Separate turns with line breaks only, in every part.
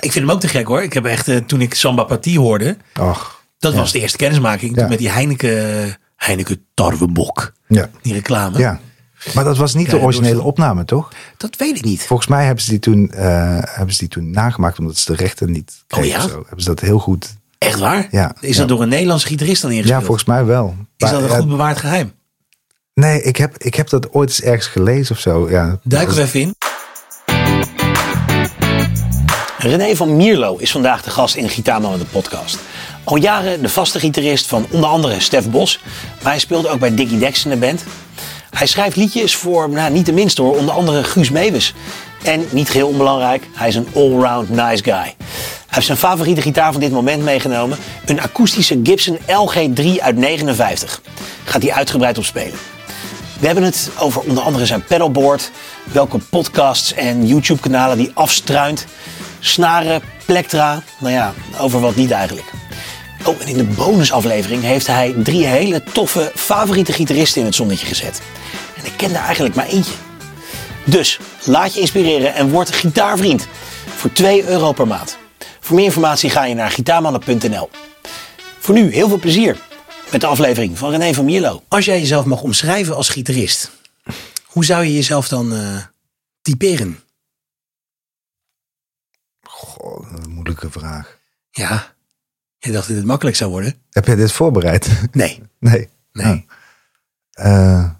ik vind hem ook te gek hoor. Ik heb echt, eh, toen ik Samba Partie hoorde,
Ach,
dat was de eerste kennismaking. Toen
Ja.
met die Heineken, Heineken Tarwebok.
ja.
Die reclame.
ja. Maar dat was niet
Ja,
de
dat was
originele
toch-
opname, toch?
Dat weet ik niet.
Volgens mij hebben ze die toen, eh, hebben ze die toen nagemaakt omdat ze de rechten niet kregen.
Oh ja?
of zo. Hebben ze dat heel goed.
Echt waar?
Ja.
Is
Ja.
dat door een Nederlandse gitarist dan
Ja,
ingespeeld?
volgens mij wel.
Is
Maar,
dat een
ja,
goed bewaard geheim?
Nee, ik heb, ik heb dat ooit eens ergens gelezen of zo. Ja.
Duiken we even in. René van Mierlo is vandaag de gast in Gitano in de podcast. Al jaren de vaste gitarist van onder andere Stef Bos. Maar hij speelde ook bij Dickie Dex in de band. Hij schrijft liedjes voor, nou niet de minste hoor, onder andere Guus Meeuwis. En niet geheel onbelangrijk, hij is een allround nice guy. Hij heeft zijn favoriete gitaar van dit moment meegenomen. Een akoestische Gibson LG3 uit 59. Gaat hij uitgebreid op spelen. We hebben het over onder andere zijn pedalboard, welke podcasts en YouTube-kanalen die afstruint, snaren, plektra, nou ja, over wat niet eigenlijk. Oh, en in de bonusaflevering heeft hij drie hele toffe favoriete gitaristen in het zonnetje gezet. En ik ken daar eigenlijk maar eentje. Dus laat je inspireren en word gitaarvriend voor 2 euro per maand. Voor meer informatie ga je naar gitaarmannen.nl. Voor nu heel veel plezier met de aflevering van René van Mierlo. Als jij jezelf mag omschrijven als gitarist, hoe zou je jezelf dan eh, typeren?
Goh, dat is een moeilijke vraag.
Ja, je dacht dat het makkelijk zou worden?
Heb jij dit voorbereid?
Nee.
nee.
Nee.
Nou, eh,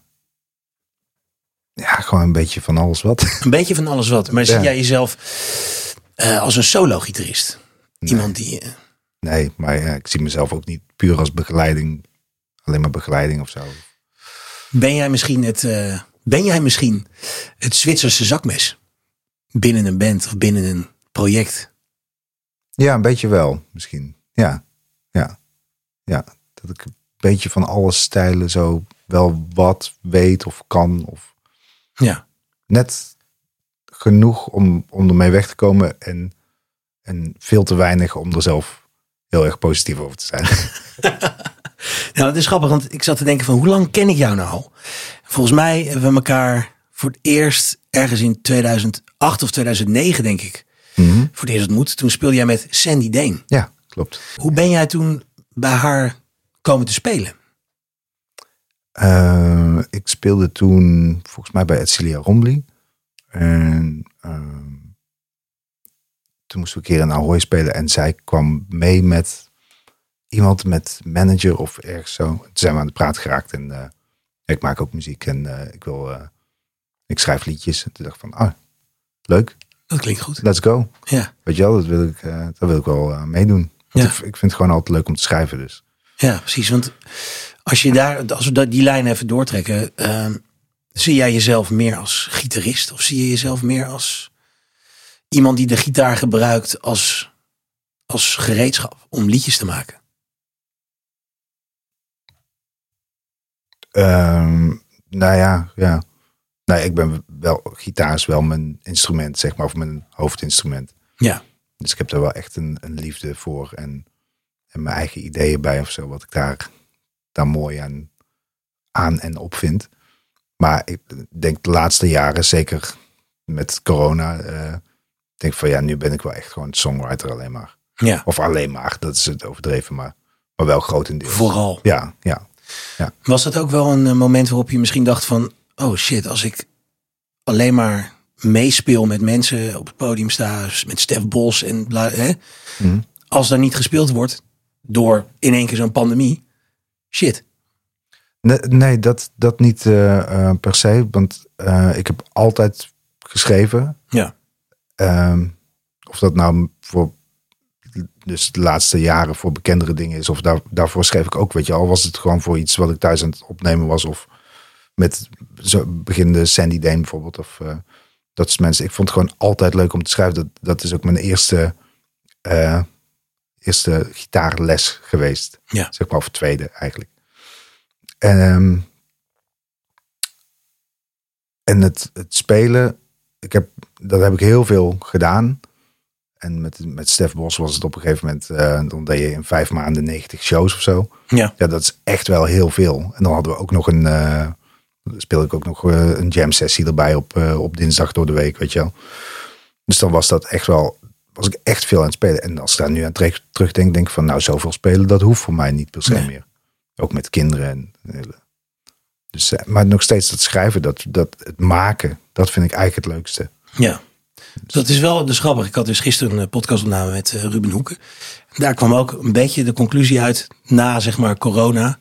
ja, gewoon een beetje van alles wat.
Een beetje van alles wat. Maar zie
Ja.
jij jezelf eh, als een solo-gitarist? Iemand die... eh,
Nee, maar ja, ik zie mezelf ook niet puur als begeleiding. Alleen maar begeleiding of zo.
ben, jij misschien het, eh, ben jij misschien het Zwitserse zakmes? Binnen een band of binnen een project?
Ja, een beetje wel, misschien. Ja, ja, ja. Dat ik een beetje van alle stijlen zo wel wat weet of kan. Of
Ja.
net genoeg om, om ermee weg te komen. En, en veel te weinig om er zelf heel erg positief over te zijn.
Nou, dat is grappig, want ik zat te denken van hoe lang ken ik jou nou al? Volgens mij hebben we elkaar voor het eerst ergens in 2008 of 2009, denk ik,
Mhm.
voor het eerst ontmoet. Toen speelde jij met Sandy Deen.
Ja, klopt.
Hoe ben jij toen bij haar komen te spelen?
Eh, ik speelde toen volgens mij bij Edcilia Rombly. En ehm, toen moesten we een keer in Ahoy spelen. En zij kwam mee met iemand, met manager of ergens zo. Toen zijn we aan de praat geraakt. En eh, ik maak ook muziek en eh, ik, wil, eh, ik schrijf liedjes. En toen dacht ik van, ah, leuk,
Dat klinkt goed.
let's go.
Ja,
Weet je wel, dat wil ik, eh dat wil ik wel eh, meedoen. Want
Ja.
ik, ik vind het gewoon altijd leuk om te schrijven dus.
ja precies. Want als, je daar, als we dat- die lijn even doortrekken, ehm, zie jij jezelf meer als gitarist of zie je jezelf meer als iemand die de gitaar gebruikt als, als gereedschap om liedjes te maken?
Ehm, nou ja, ja. Nou, ik ben wel, gitaar is wel mijn instrument, zeg maar, of mijn hoofdinstrument.
Ja.
Dus ik heb daar wel echt een, een liefde voor en, en mijn eigen ideeën bij of zo, wat ik daar, daar mooi aan, aan en op vind. Maar ik denk de laatste jaren, zeker met corona, eh, denk ik van ja, nu ben ik wel echt gewoon songwriter alleen maar.
Ja,
Of alleen maar, dat is het overdreven, maar, maar wel grotendeels.
vooral.
Ja, ja.
Was dat ook wel een eh, moment waarop je misschien dacht van... oh shit, als ik alleen maar meespeel met mensen op het podium sta... met Stef Bos en bla, hè,
Mhm.
als daar niet gespeeld wordt door in één keer zo'n pandemie... shit,
Nee, nee, dat, dat niet eh, eh, per se. Want eh, ik heb altijd geschreven.
ja.
Ehm, of dat nou voor dus de laatste jaren voor bekendere dingen is. Of daar, daarvoor schreef ik ook, weet je al. Was het gewoon voor iets wat ik thuis aan het opnemen was. Of met zo beginnende Sandy Dane bijvoorbeeld. Of eh, dat soort mensen. Ik vond het gewoon altijd leuk om te schrijven. Dat, dat is ook mijn eerste, eh, eerste gitaarles geweest.
Ja.
Zeg maar, of tweede eigenlijk. En, ehm, en het, het spelen, ik heb, dat heb ik heel veel gedaan. En met, met Stef Bos was het op een gegeven moment, eh, dan deed je in vijf maanden 90 shows of zo.
Ja.
Ja, dat is echt wel heel veel. En dan hadden we ook nog een, eh, speelde ik ook nog eh, een jam sessie erbij op, eh, op dinsdag door de week, weet je wel. Dus dan was dat echt wel, was ik echt veel aan het spelen. En als ik daar nu aan terug- terugdenk, denk ik van nou, zoveel spelen, dat hoeft voor mij niet per se
Nee.
meer. Ook met kinderen en een hele- Dus, eh, maar nog steeds dat schrijven, dat, dat het maken, dat vind ik eigenlijk het leukste.
Ja. Dat is wel dus grappig. Ik had dus gisteren een podcastopname met eh, Ruben Hoeken. Daar kwam ook een beetje de conclusie uit na zeg maar corona.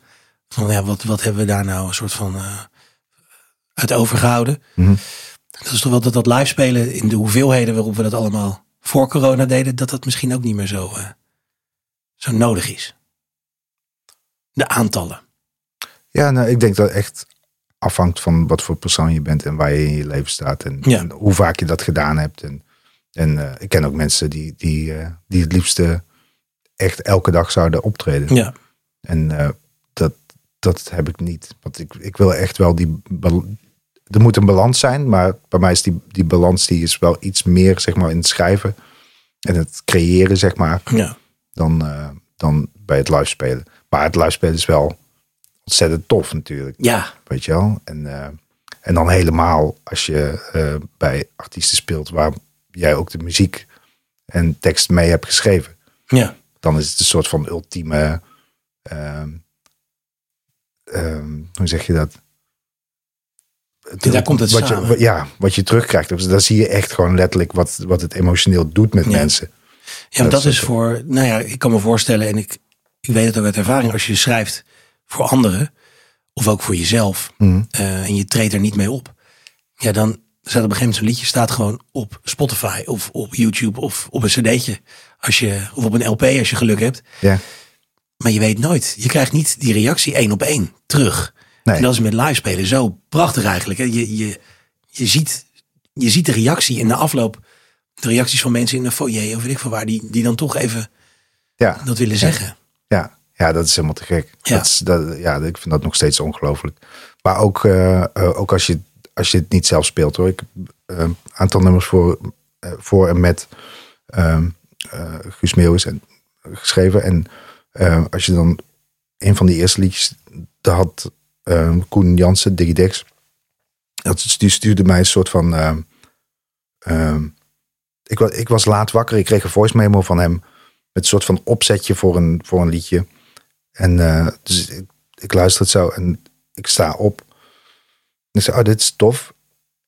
Van ja, wat, wat hebben we daar nou een soort van eh, uit overgehouden?
Mhm.
Dat is toch wel dat dat live spelen in de hoeveelheden waarop we dat allemaal voor corona deden, dat dat misschien ook niet meer zo, eh, zo nodig is. De aantallen.
Ja, nou, ik denk dat het echt afhangt van wat voor persoon je bent en waar je in je leven staat. En,
Ja.
en hoe vaak je dat gedaan hebt. En, en eh, ik ken ook mensen die, die, eh, die het liefste echt elke dag zouden optreden.
Ja,
En eh, dat, dat heb ik niet. Want ik, ik wil echt wel die. bal- Er moet een balans zijn, maar bij mij is die, die balans die is wel iets meer zeg maar, in het schrijven en het creëren, zeg maar,
ja.
dan, eh, dan bij het live spelen. Maar het live spelen is wel ontzettend tof natuurlijk.
Ja,
Weet je wel? En, eh, en dan helemaal als je eh, bij artiesten speelt waar jij ook de muziek en tekst mee hebt geschreven
ja.
dan is het een soort van ultieme. ehm, ehm, hoe zeg je dat?
Ja, daar komt het
wat
samen.
Je, wat- ja, wat je terugkrijgt. Dus daar zie je echt gewoon letterlijk wat, wat het emotioneel doet met
Ja.
mensen.
Ja, maar
Dat
dat
is
is voor, nou ja, ik kan me voorstellen en ik, ik weet het ook uit ervaring, als je schrijft voor anderen of ook voor jezelf eh, en je treedt er niet mee op, ja, dan staat op een gegeven moment zo'n liedje staat gewoon op Spotify of op YouTube of op een cd'tje als je, of op een LP als je geluk hebt.
Ja.
Maar je weet nooit, je krijgt niet die reactie één op één terug.
Nee.
En dat is met live spelen zo prachtig eigenlijk. Hè? Je, je, je, ziet, je ziet de reactie in de afloop, de reacties van mensen in een foyer of weet ik van waar, die, die dan toch even
Ja,
dat willen zeggen.
ja, ja, dat is helemaal te gek.
Ja.
Dat is, dat, ja, ik vind dat nog steeds ongelooflijk. Maar ook, eh, eh, ook als, je, als je het niet zelf speelt hoor. Ik heb een aantal nummers voor, eh, voor en met ehm eh, Guus Meeuwis en, geschreven. En eh, als je dan een van die eerste liedjes, daar had ehm, Koen Jansen, Digidex, dat stu- die stuurde mij een soort van. ehm, ehm, ik, was, ik was laat wakker, ik kreeg een voice memo van hem. Met een soort van opzetje voor een, voor een liedje. En eh, dus ik, ik luister het zo en ik sta op. En ik zei, oh, dit is tof.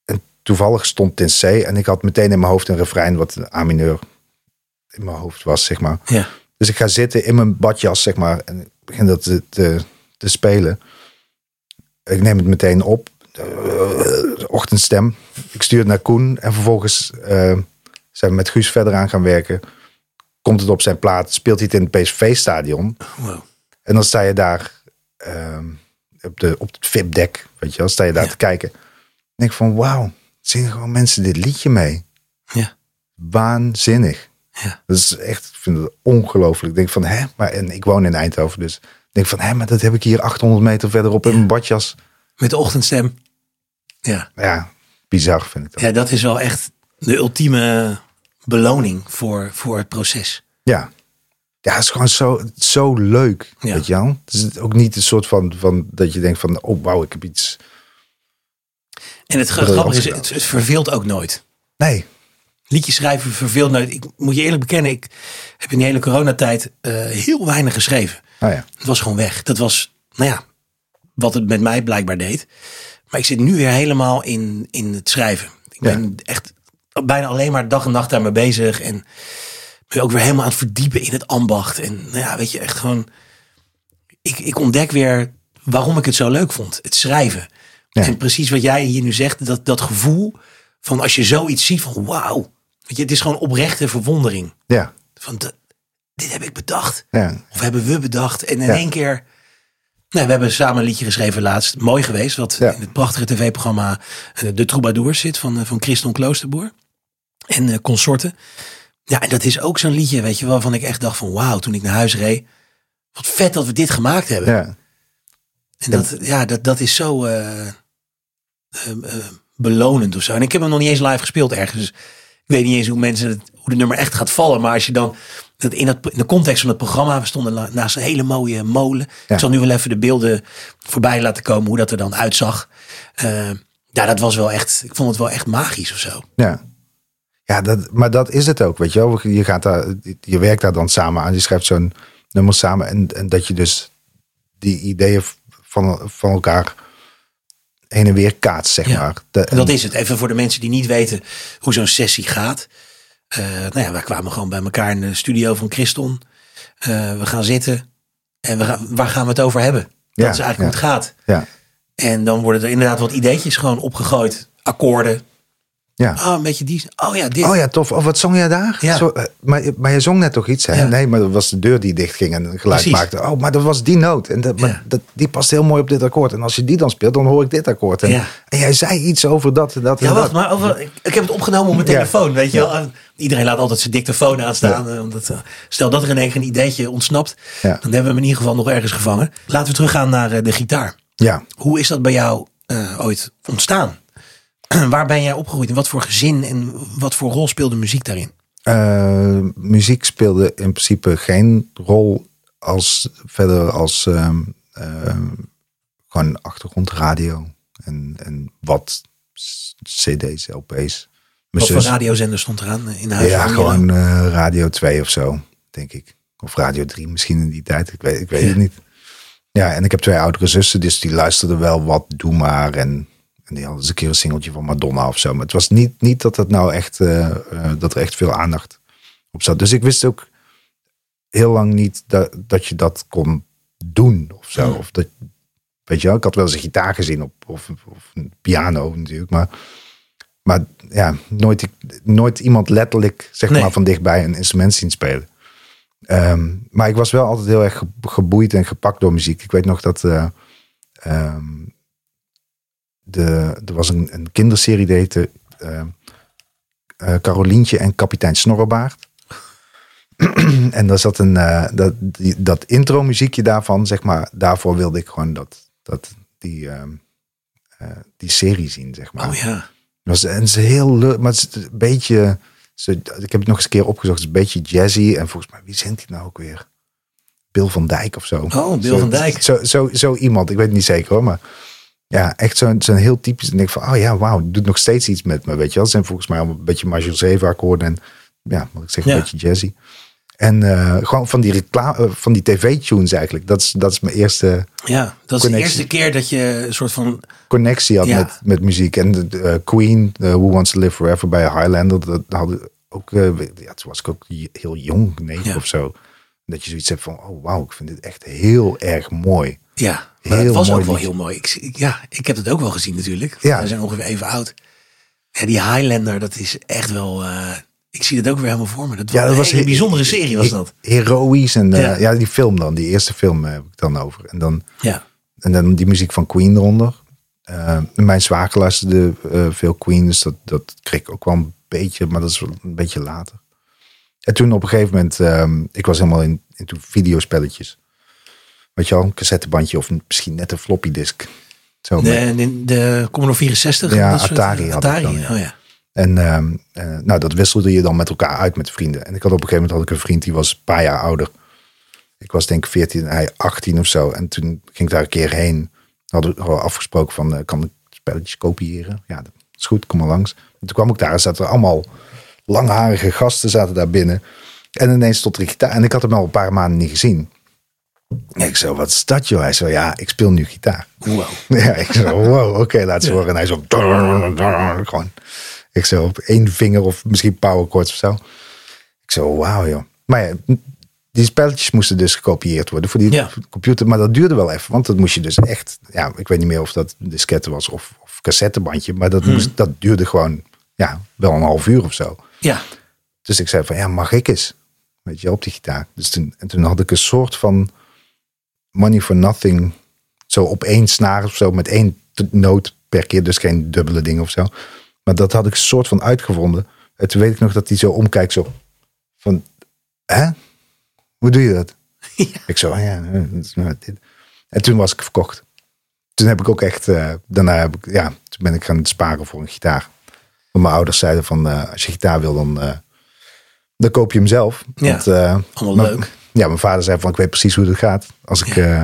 En toevallig stond het in C. En ik had meteen in mijn hoofd een refrein wat een A-mineur in mijn hoofd was, zeg maar.
Ja.
Dus ik ga zitten in mijn badjas, zeg maar. En ik begin dat te, te, te spelen. Ik neem het meteen op. Eh, ochtendstem. Ik stuur het naar Koen. En vervolgens eh, zijn we met Guus verder aan gaan werken. Komt het op zijn plaat. Speelt hij het in het PSV-stadion.
Wow.
En dan sta je daar ehm, op, de, op het VIP-dek. Weet je wel. Sta je daar te kijken. En denk van, wauw. Zingen gewoon mensen dit liedje mee.
Ja.
Waanzinnig.
Ja.
Dat is echt, ik vind het ongelooflijk. Ik denk van, hè, maar en ik woon in Eindhoven, dus ik denk van, hè, maar dat heb ik hier 800 meter verderop in mijn badjas.
Met de ochtendstem. Ja.
Ja, bizar vind ik dat.
ja, dat is wel echt de ultieme beloning voor, voor het proces.
Ja. Ja, het is gewoon zo, zo leuk,
Ja.
weet je wel. Het is ook niet een soort van, van dat je denkt van, oh wauw, ik heb iets.
En het
Briljant
grappige is,
gedaan.
het, het verveelt ook nooit.
Nee,
Liedjes schrijven verveelt nooit. Ik moet je eerlijk bekennen, ik heb in die hele coronatijd eh, heel weinig geschreven.
nou ja.
Het was gewoon weg. Dat was, nou ja, wat het met mij blijkbaar deed. Maar ik zit nu weer helemaal in, in het schrijven. Ik
Ja.
ben echt bijna alleen maar dag en nacht daarmee bezig. En ben ook weer helemaal aan het verdiepen in het ambacht. En nou ja, weet je, echt gewoon... Ik, ik ontdek weer waarom ik het zo leuk vond. Het schrijven.
Ja.
En precies wat jij hier nu zegt, dat, dat gevoel van als je zoiets ziet van wauw. Weet je, het is gewoon oprechte verwondering.
Ja,
Van dat- dit heb ik bedacht.
ja,
Of hebben we bedacht. En in
Ja.
één keer. Nou, we hebben samen een liedje geschreven laatst. Mooi geweest. Wat
Ja.
in het prachtige tv-programma eh, De Troubadours zit. Van, eh, van Christon Kloosterboer. En eh, consorten. Ja, en dat is ook zo'n liedje, weet je, waarvan ik echt dacht van wauw, toen ik naar huis reed. Wat vet dat we dit gemaakt hebben.
ja.
En dat, ja, dat, dat is zo eh, eh, eh, belonend of zo. En ik heb hem nog niet eens live gespeeld ergens. Dus ik weet niet eens hoe mensen het, hoe de nummer echt gaat vallen. Maar als je dan dat in, dat, in de context van het programma, we stonden la- naast een hele mooie molen.
Ja.
Ik zal nu wel even de beelden voorbij laten komen, hoe dat er dan Ehm, uitzag. Eh, ja, dat was wel echt. Ik vond het wel echt magisch of zo.
Ja. Ja, dat, maar dat is het ook, weet je wel. Je, gaat daar, je werkt daar dan samen aan. Je schrijft zo'n nummer samen. En, en dat je dus die ideeën van, van elkaar heen en weer kaatst, zeg
Ja.
maar. De-
En dat is het. Even voor de mensen die niet weten hoe zo'n sessie gaat. Eh, nou ja, wij kwamen gewoon bij elkaar in de studio van Christon. Eh, we gaan zitten. En we gaan, waar gaan we het over hebben? Dat
Ja,
is eigenlijk hoe het gaat.
Ja,
En dan worden er inderdaad wat ideetjes gewoon opgegooid. Akkoorden.
ja.
Ah, een beetje die. Oh ja, dit.
Oh ja, tof. Oh, wat zong jij daar?
Ja.
Zo, eh, maar, maar je zong net toch iets, hè?
Ja.
Nee, maar dat was de deur die dichtging en een geluid
Precies.
maakte. Oh, maar dat was die noot. En dat, maar
Ja.
dat, die past heel mooi op dit akkoord. En als je die dan speelt, dan hoor ik dit akkoord. En,
Ja.
en jij zei iets over dat en dat en
Ja, wacht,
dat.
maar over, ik, ik heb het opgenomen op mijn
Ja.
telefoon, weet je wel. Ah, Iedereen laat altijd zijn dictafoon aanstaan. eh, Omdat, eh, stel dat er in één keer een ideetje ontsnapt,
Ja.
dan hebben we hem in ieder geval nog ergens gevangen. Laten we teruggaan naar eh, de gitaar.
Ja,
Hoe is dat bij jou eh, ooit ontstaan? Waar ben jij opgegroeid? In wat voor gezin en wat voor rol speelde muziek daarin?
Eh, muziek speelde in principe geen rol als, verder als ehm, ehm, gewoon achtergrondradio en, en wat s- cd's, lp's. Mijn
Wat voor
zus-
radiozender stond eraan eh, in huis?
Ja,
Van je?
gewoon eh, Radio 2 of zo, denk ik. Of Radio 3 misschien in die tijd. Ik weet, ik weet het niet. Ja, en ik heb twee oudere zussen, dus die luisterden wel wat Doe Maar. En, en die hadden eens een keer een singeltje van Madonna of zo. Maar het was niet, niet dat het nou echt, eh, eh, dat er echt veel aandacht op zat. Dus ik wist ook heel lang niet dat, dat je dat kon doen of zo. Of dat, weet je wel, ik had wel eens een gitaar gezien op, of, of een piano natuurlijk. Maar, maar ja, nooit, nooit iemand letterlijk, zeg
Nee.
maar, van dichtbij een instrument zien spelen. Ehm, maar ik was wel altijd heel erg ge- geboeid en gepakt door muziek. Ik weet nog dat eh, ehm, de, er was een, een kinderserie die heette ehm, eh, Carolientje en kapitein Snorrebaard. en daar zat een, eh, dat, die, dat intro muziekje daarvan, zeg maar, daarvoor wilde ik gewoon dat, dat die, ehm, eh, die serie zien, zeg maar.
Oh ja.
Het Was, en het is heel leuk, maar het is een beetje. ze- Ik heb het nog eens een keer opgezocht. Het is een beetje jazzy. En volgens mij, wie zingt het nou ook weer? Bill van Dijk of zo.
Oh, Bill
Zo-
van Dijk.
Zo, zo, zo iemand, ik weet het niet zeker hoor. Maar ja, echt zo'n zo'n heel typisch. En ik denk van, oh ja, wauw, het doet nog steeds iets met me. Weet je wel, het zijn volgens mij allemaal een beetje Major 7 akkoorden. En ja, wat ik zeg,
Ja.
een beetje jazzy. En eh, gewoon van die, reclame, eh, van die tv-tunes eigenlijk. Dat is, dat is mijn eerste
ja, dat is de
Connectie.
eerste keer dat je een soort van...
connectie had
Ja.
met, met muziek. En de, de, eh, Queen, eh, Who Wants to Live Forever bij Highlander, dat hadden ook, eh, we- ja, toen was ik ook j- heel jong, negen
Ja.
of zo. Dat je zoiets hebt van, oh wauw, ik vind dit echt heel erg mooi.
Ja, maar
Heel
het was
mooi
ook wel
liedje.
heel mooi. Ik, ik- ja, ik heb het ook wel gezien natuurlijk.
Ja.
We zijn ongeveer even oud. Ja, die Highlander, dat is echt wel... eh, ik zie dat ook weer helemaal voor me. Dat was,
Ja, dat was
een hele
he-
bijzondere serie was
He-
dat.
Eh, Heroïs en eh,
Ja.
ja. die film dan, die eerste film eh, heb ik dan over. En dan,
Ja.
en dan die muziek van Queen eronder. Eh, mijn zwager luisterde eh, veel Queen, dus dat, dat kreeg ik ook wel een beetje, maar dat is wel een beetje later. En toen op een gegeven moment, ehm, ik was helemaal in, into videospelletjes. Weet je wel, een cassettebandje of misschien net een floppy disk. Zo
De,
met-
de, de Commodore 64.
Ja,
dat soort-
Atari had ik
Atari,
dan, ja.
oh ja.
En ehm, eh, nou, dat wisselde je dan met elkaar uit met vrienden. En ik had op een gegeven moment had ik een vriend die was een paar jaar ouder. Ik was denk ik 14 en hij 18 of zo. En toen ging ik daar een keer heen. Hadden we al afgesproken van, eh, kan ik spelletjes kopiëren? Ja, dat is goed, kom maar langs. En toen kwam ik daar en zaten er allemaal langharige gasten zaten daar binnen. En ineens stond er een gitaar. En ik had hem al een paar maanden niet gezien. En ik zo, wat is dat joh? Hij zo, ja, ik speel nu gitaar.
Wow.
Ja, ik zo, wow, oké, laat ze horen. En hij zo, gewoon, ik zo, op één vinger of misschien powerchords of zo. Ik zo, wauw joh. Maar ja, die spelletjes moesten dus gekopieerd worden voor die
Ja.
computer. Maar dat duurde wel even, want dat moest je dus echt, ja, ik weet niet meer of dat disketten was of, of cassettebandje. Maar dat, moest, dat duurde gewoon, ja, wel een half uur of zo.
Ja,
Dus ik zei van, ja, mag ik eens? Weet je, op die gitaar. Dus toen, en toen had ik een soort van money for nothing. Zo op één snaar of zo, met één t- noot per keer. Dus geen dubbele ding of zo. Maar dat had ik een soort van uitgevonden. En toen weet ik nog dat hij zo omkijkt, zo van, hè? Hoe doe je dat?
Ja.
Ik zo, ja. eh, dat is nou dit. En toen was ik verkocht. Toen heb ik ook echt, eh, daarna heb ik, ja, toen ben ik gaan sparen voor een gitaar. Want mijn ouders zeiden van, eh, als je gitaar wil, dan, eh, dan koop je hem zelf.
Ja,
Want, eh,
allemaal
mijn-
leuk.
Ja, mijn vader zei van, ik weet precies hoe dat gaat. Als ik eh,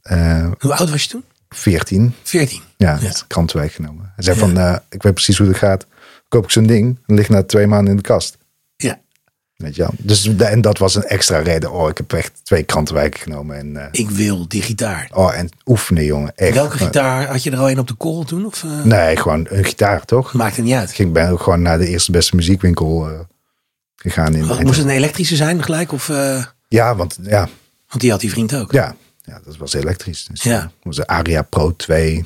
eh,
Hoe oud was je toen?
14,
14.
ja, het krant weggenomen. Hij zei van, eh, ik weet precies hoe dat gaat. koop ik zo'n ding en ligt na twee maanden in de kast.
Ja.
Weet je wel? Dus, da- en dat was een extra reden. Oh, ik heb echt twee krantenwijken genomen. En, eh,
Ik wil die gitaar.
oh, en oefenen, jongen. Echt. Oh.
Welke gitaar? Had je er al een op de korrel toen? Of, eh?
Nee, gewoon een gitaar, toch?
Maakt het niet uit.
Ik ben ook gewoon naar de eerste beste muziekwinkel eh, gegaan. In
Moest het een elektrische zijn gelijk? Of, eh,
Ja, want ja,
want die had die vriend ook.
ja, ja, dat was elektrisch. Dus
Ja.
dat was een Aria Pro 2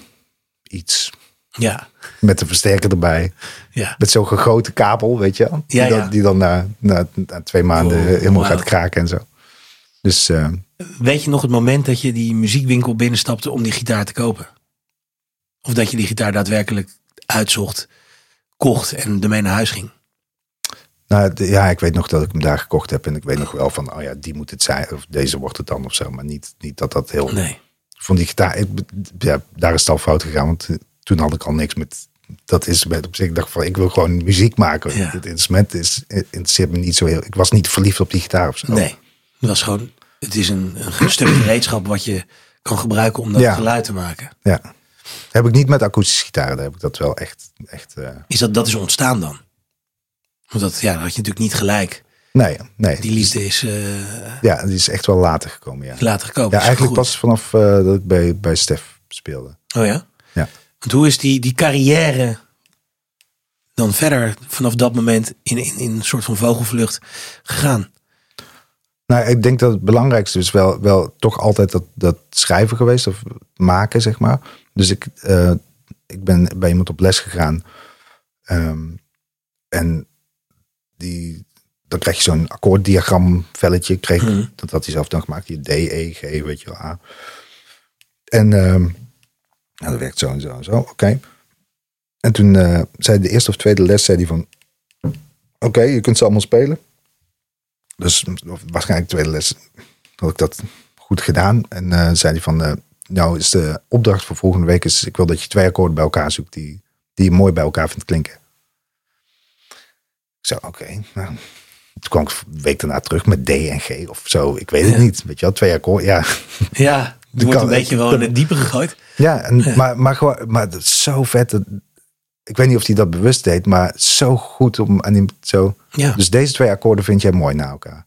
iets
Ja.
met een versterker erbij.
ja.
Met zo'n gegoten kabel, weet je wel? Die,
Ja,
dan,
ja.
die dan na, na, na twee maanden
Oh,
helemaal
wauw.
gaat kraken en zo. Dus eh,
Weet je nog het moment dat je die muziekwinkel binnenstapte om die gitaar te kopen? Of dat je die gitaar daadwerkelijk uitzocht, kocht en ermee naar huis ging?
nou, d- ja, ik weet nog dat ik hem daar gekocht heb. En ik weet nog wel van, oh ja, die moet het zijn. Of deze wordt het dan of zo. Maar niet, niet dat dat heel...
Nee.
Van die gitaar, ik, ja, daar is het al fout gegaan. Want eh, toen had ik al niks met... Dat is met op zich, ik dacht van, ik wil gewoon muziek maken.
Ja.
Het instrument is, eh, interesseert me niet zo heel... Ik was niet verliefd op die gitaar of zo.
Nee. Het was gewoon, het is een, een stuk gereedschap wat je kan gebruiken om dat
Ja.
geluid te maken.
Ja. Heb ik niet met akoestische gitaar, daar heb ik dat wel echt... echt eh,
Is dat, dat is ontstaan dan? Want dat, ja, dat had je natuurlijk niet gelijk.
nee, nee.
Die liefde is eh,
Ja, die is echt wel later gekomen, ja.
later gekomen.
Ja,
Is
eigenlijk
goed.
pas vanaf eh, dat ik bij, bij Stef speelde.
Oh ja?
Ja.
Want hoe is die, die carrière dan verder vanaf dat moment in, in, in een soort van vogelvlucht gegaan?
Nou, ik denk dat het belangrijkste is wel, wel toch altijd dat, dat schrijven geweest, of maken, zeg maar. Dus ik, eh, ik ben bij iemand op les gegaan. Ehm, en die, dan krijg je zo'n akkoorddiagramvelletje. Ik Kreeg,
Mhm.
Dat had hij zelf dan gemaakt. Die D, E, G, weet je wel, A. En ehm, nou, dat werkt zo en zo en zo. Oké. En toen eh, zei de eerste of tweede les, zei hij van... Oké, je kunt ze allemaal spelen. Dus of waarschijnlijk tweede les had ik dat goed gedaan. En eh, zei hij van... eh, nou, is de opdracht voor volgende week is... Ik wil dat je twee akkoorden bij elkaar zoekt die, die je mooi bij elkaar vindt klinken. Ik zei, oké. nou. Toen kwam ik de week daarna terug met D en G of zo. Ik weet het
Ja.
niet. Weet je wel, twee akkoorden. Ja,
Ja, er wordt
kan-
een beetje wel in het diepe gegooid.
ja, en, Maar, maar, gewoon, maar dat is zo vet. dat- ik weet niet of hij dat bewust deed, maar zo goed om aan iemand zo.
Ja,
Dus deze twee akkoorden vind jij mooi na elkaar.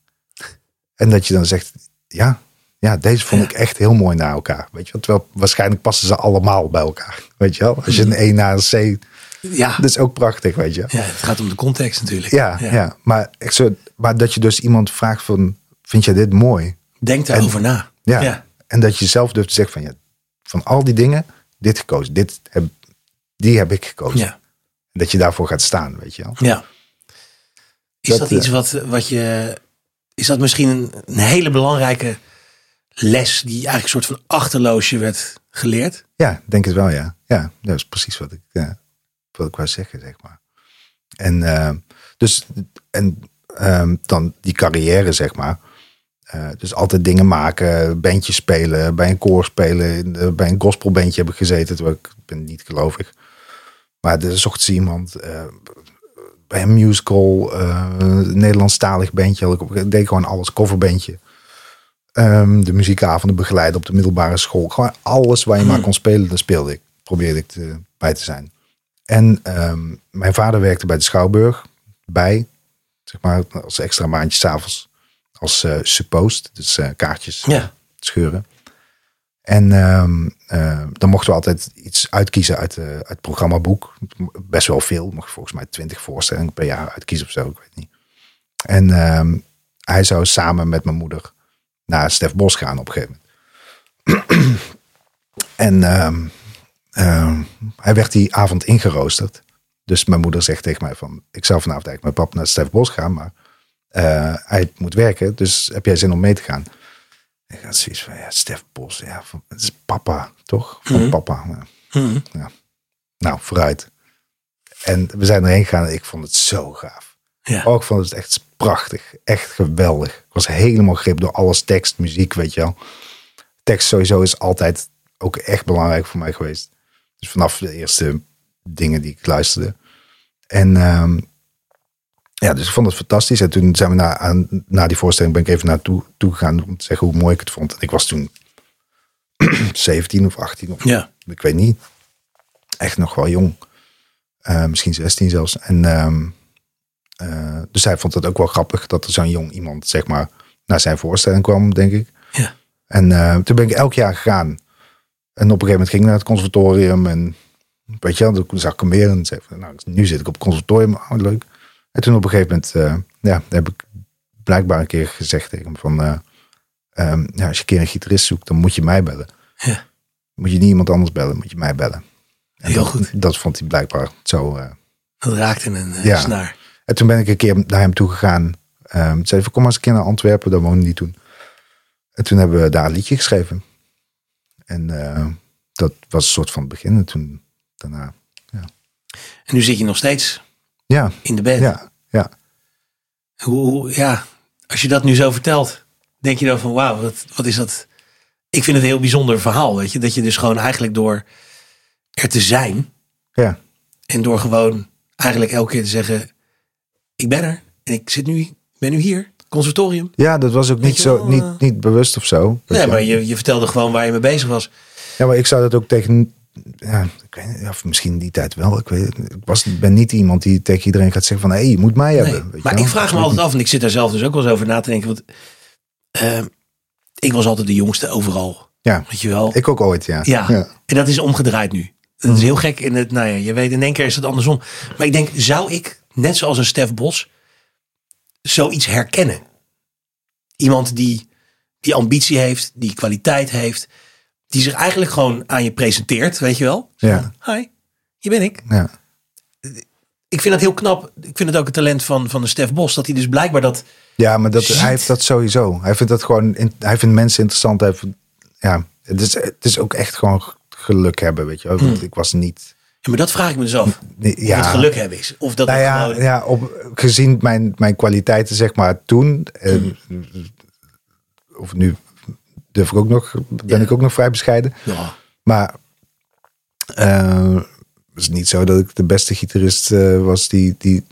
En dat je dan zegt, ja, ja deze vond
Ja.
ik echt heel mooi na elkaar. Weet je, wel? terwijl waarschijnlijk passen ze allemaal bij elkaar. Weet je wel, als je een E naar een C,
ja.
dat is ook prachtig, weet je.
ja, het gaat om de context natuurlijk.
Ja, ja. Maar, echt zo, maar dat je dus iemand vraagt van, vind jij dit mooi?
Denk daarover na.
Ja. En dat je zelf durft te zeggen van ja, van al die dingen, dit gekozen, dit heb, die heb ik gekozen.
ja.
En Dat je daarvoor gaat staan, weet je wel.
Ja. Is dat,
Dat, eh,
iets wat, wat je. Is dat misschien een, een hele belangrijke les die eigenlijk een soort van achterloosje werd geleerd?
Ja, ik denk het wel, ja. Ja, dat is precies wat ik, eh, wat ik wou zeggen, zeg maar. En, eh, dus, en ehm, dan die carrière, zeg maar. Eh, dus altijd dingen maken, bandjes spelen, bij een koor spelen, in de- bij een gospelbandje heb ik gezeten, terwijl ik ik ben niet gelovig. Maar er zocht ze iemand eh, bij een musical, eh, een Nederlandstalig bandje, had ik op, ik deed gewoon alles, coverbandje. Ehm, de muziekavonden begeleiden op de middelbare school. Gewoon alles waar je maar kon spelen, dat speelde ik. Probeerde ik te- bij te zijn. En ehm, mijn vader werkte bij de Schouwburg. Bij, zeg maar, als extra maandje s'avonds. Als eh suppost, dus eh, kaartjes
Ja.
scheuren. En ehm, eh, dan mochten we altijd iets uitkiezen uit, eh, uit het programmaboek. Best wel veel, mocht je volgens mij twintig voorstellingen per jaar uitkiezen of zo, ik weet niet. En ehm, hij zou samen met mijn moeder naar Stef Bos gaan op een gegeven moment. en ehm, ehm, hij werd die avond ingeroosterd. Dus mijn moeder zegt tegen mij van, ik zou vanavond eigenlijk met pap naar Stef Bos gaan, maar eh, hij moet werken, dus heb jij zin om mee te gaan? Ik had zoiets van, ja, Stef Bos, ja, van, het is papa, toch? Van papa. ja.
Mhm.
Nou, vooruit. En we zijn erheen gegaan en ik vond het zo gaaf.
Ja.
Oh, ik vond het echt prachtig. Echt geweldig. Ik was helemaal grip door alles. Tekst, muziek, weet je wel. Tekst sowieso is altijd ook echt belangrijk voor mij geweest. Dus vanaf de eerste dingen die ik luisterde. En ehm, ja, dus ik vond het fantastisch. En toen zijn we na, aan, na die voorstelling ben ik even naartoe toe gegaan om te zeggen hoe mooi ik het vond. En ik was toen 17 of 18 of
Ja.
ik weet niet, echt nog wel jong. Eh, misschien 16 zelfs. En, ehm, eh, dus hij vond het ook wel grappig dat er zo'n jong iemand, zeg maar, naar zijn voorstelling kwam, denk ik.
Ja.
En eh, toen ben ik elk jaar gegaan. En op een gegeven moment ging ik naar het conservatorium en weet je wel, toen zag ik hem weer en zei van, nou, nu zit ik op het conservatorium, oh, wat leuk. En toen op een gegeven moment, eh, ja, heb ik blijkbaar een keer gezegd tegen hem van, eh, ehm, ja, als je een keer een gitarist zoekt, dan moet je mij bellen.
Ja.
Moet je niet iemand anders bellen, moet je mij bellen. En
Heel
dat,
goed.
Dat vond hij blijkbaar zo. eh.
Dat raakte een eh,
Ja.
snaar.
En toen ben ik een keer naar hem toe gegaan. Ehm, toen zei hij van, kom maar eens een keer naar Antwerpen, daar woonde hij toen. En toen hebben we daar een liedje geschreven. En eh, dat was een soort van het begin. En toen daarna,
En nu zit je nog steeds
ja,
in de band.
ja, ja.
Hoe, hoe- ja, als je dat nu zo vertelt, denk je dan van wauw, wat, wat is dat? Ik vind het een heel bijzonder verhaal, weet je. Dat je dus gewoon eigenlijk door er te zijn
ja.
en door gewoon eigenlijk elke keer te zeggen, ik ben er en ik zit nu, ben nu hier, conservatorium.
Ja, dat was ook niet,
je
zo,
wel, eh,
niet, niet bewust of zo. Weet
Nee,
je.
maar je, je vertelde gewoon waar je mee bezig was.
Ja, maar ik zou dat ook tegen... Ja, ik weet niet, of misschien die tijd wel. Ik, weet, het niet. ik was, ben niet iemand die tegen iedereen gaat zeggen van... hé, hey, je moet mij
Nee,
hebben. weet je
Maar
wel.
ik vraag me altijd af, en ik zit daar zelf dus ook wel eens over na te denken. Want eh, ik was altijd de jongste overal.
Ja,
Weet je wel?
ik ook ooit, ja. Mm.
ja. En dat is omgedraaid nu. Dat is heel gek. In het, nou ja, je weet, in één keer is het andersom. Maar ik denk, zou ik, net zoals een Stef Bos, zoiets herkennen? Iemand die, die ambitie heeft, die kwaliteit heeft, die zich eigenlijk gewoon aan je presenteert, weet je wel?
Ja.
Hi, hier ben ik
ja.
ik vind dat heel knap. Ik vind het ook een talent van, van de Stef Bos. Dat hij dus blijkbaar dat...
Ja, maar dat,
Shit.
hij heeft dat sowieso. Hij vindt dat gewoon. in- hij vindt mensen interessant. Hij vindt- ja, het is, het is ook echt gewoon g- geluk hebben, weet je. wel. Want ik was niet.
Ja, maar dat vraag ik me dus af.
nee,
Of het
ja,
Hm. geluk hebben is. Of dat
Nou
het
ja,
gewoon-
ja op, gezien mijn, mijn kwaliteiten, zeg maar, toen. eh,
Hm.
Of nu durf ik ook nog, ben
Ja.
ik ook nog vrij bescheiden.
Ja.
Maar eh, het is niet zo dat ik de beste gitarist eh, was die. die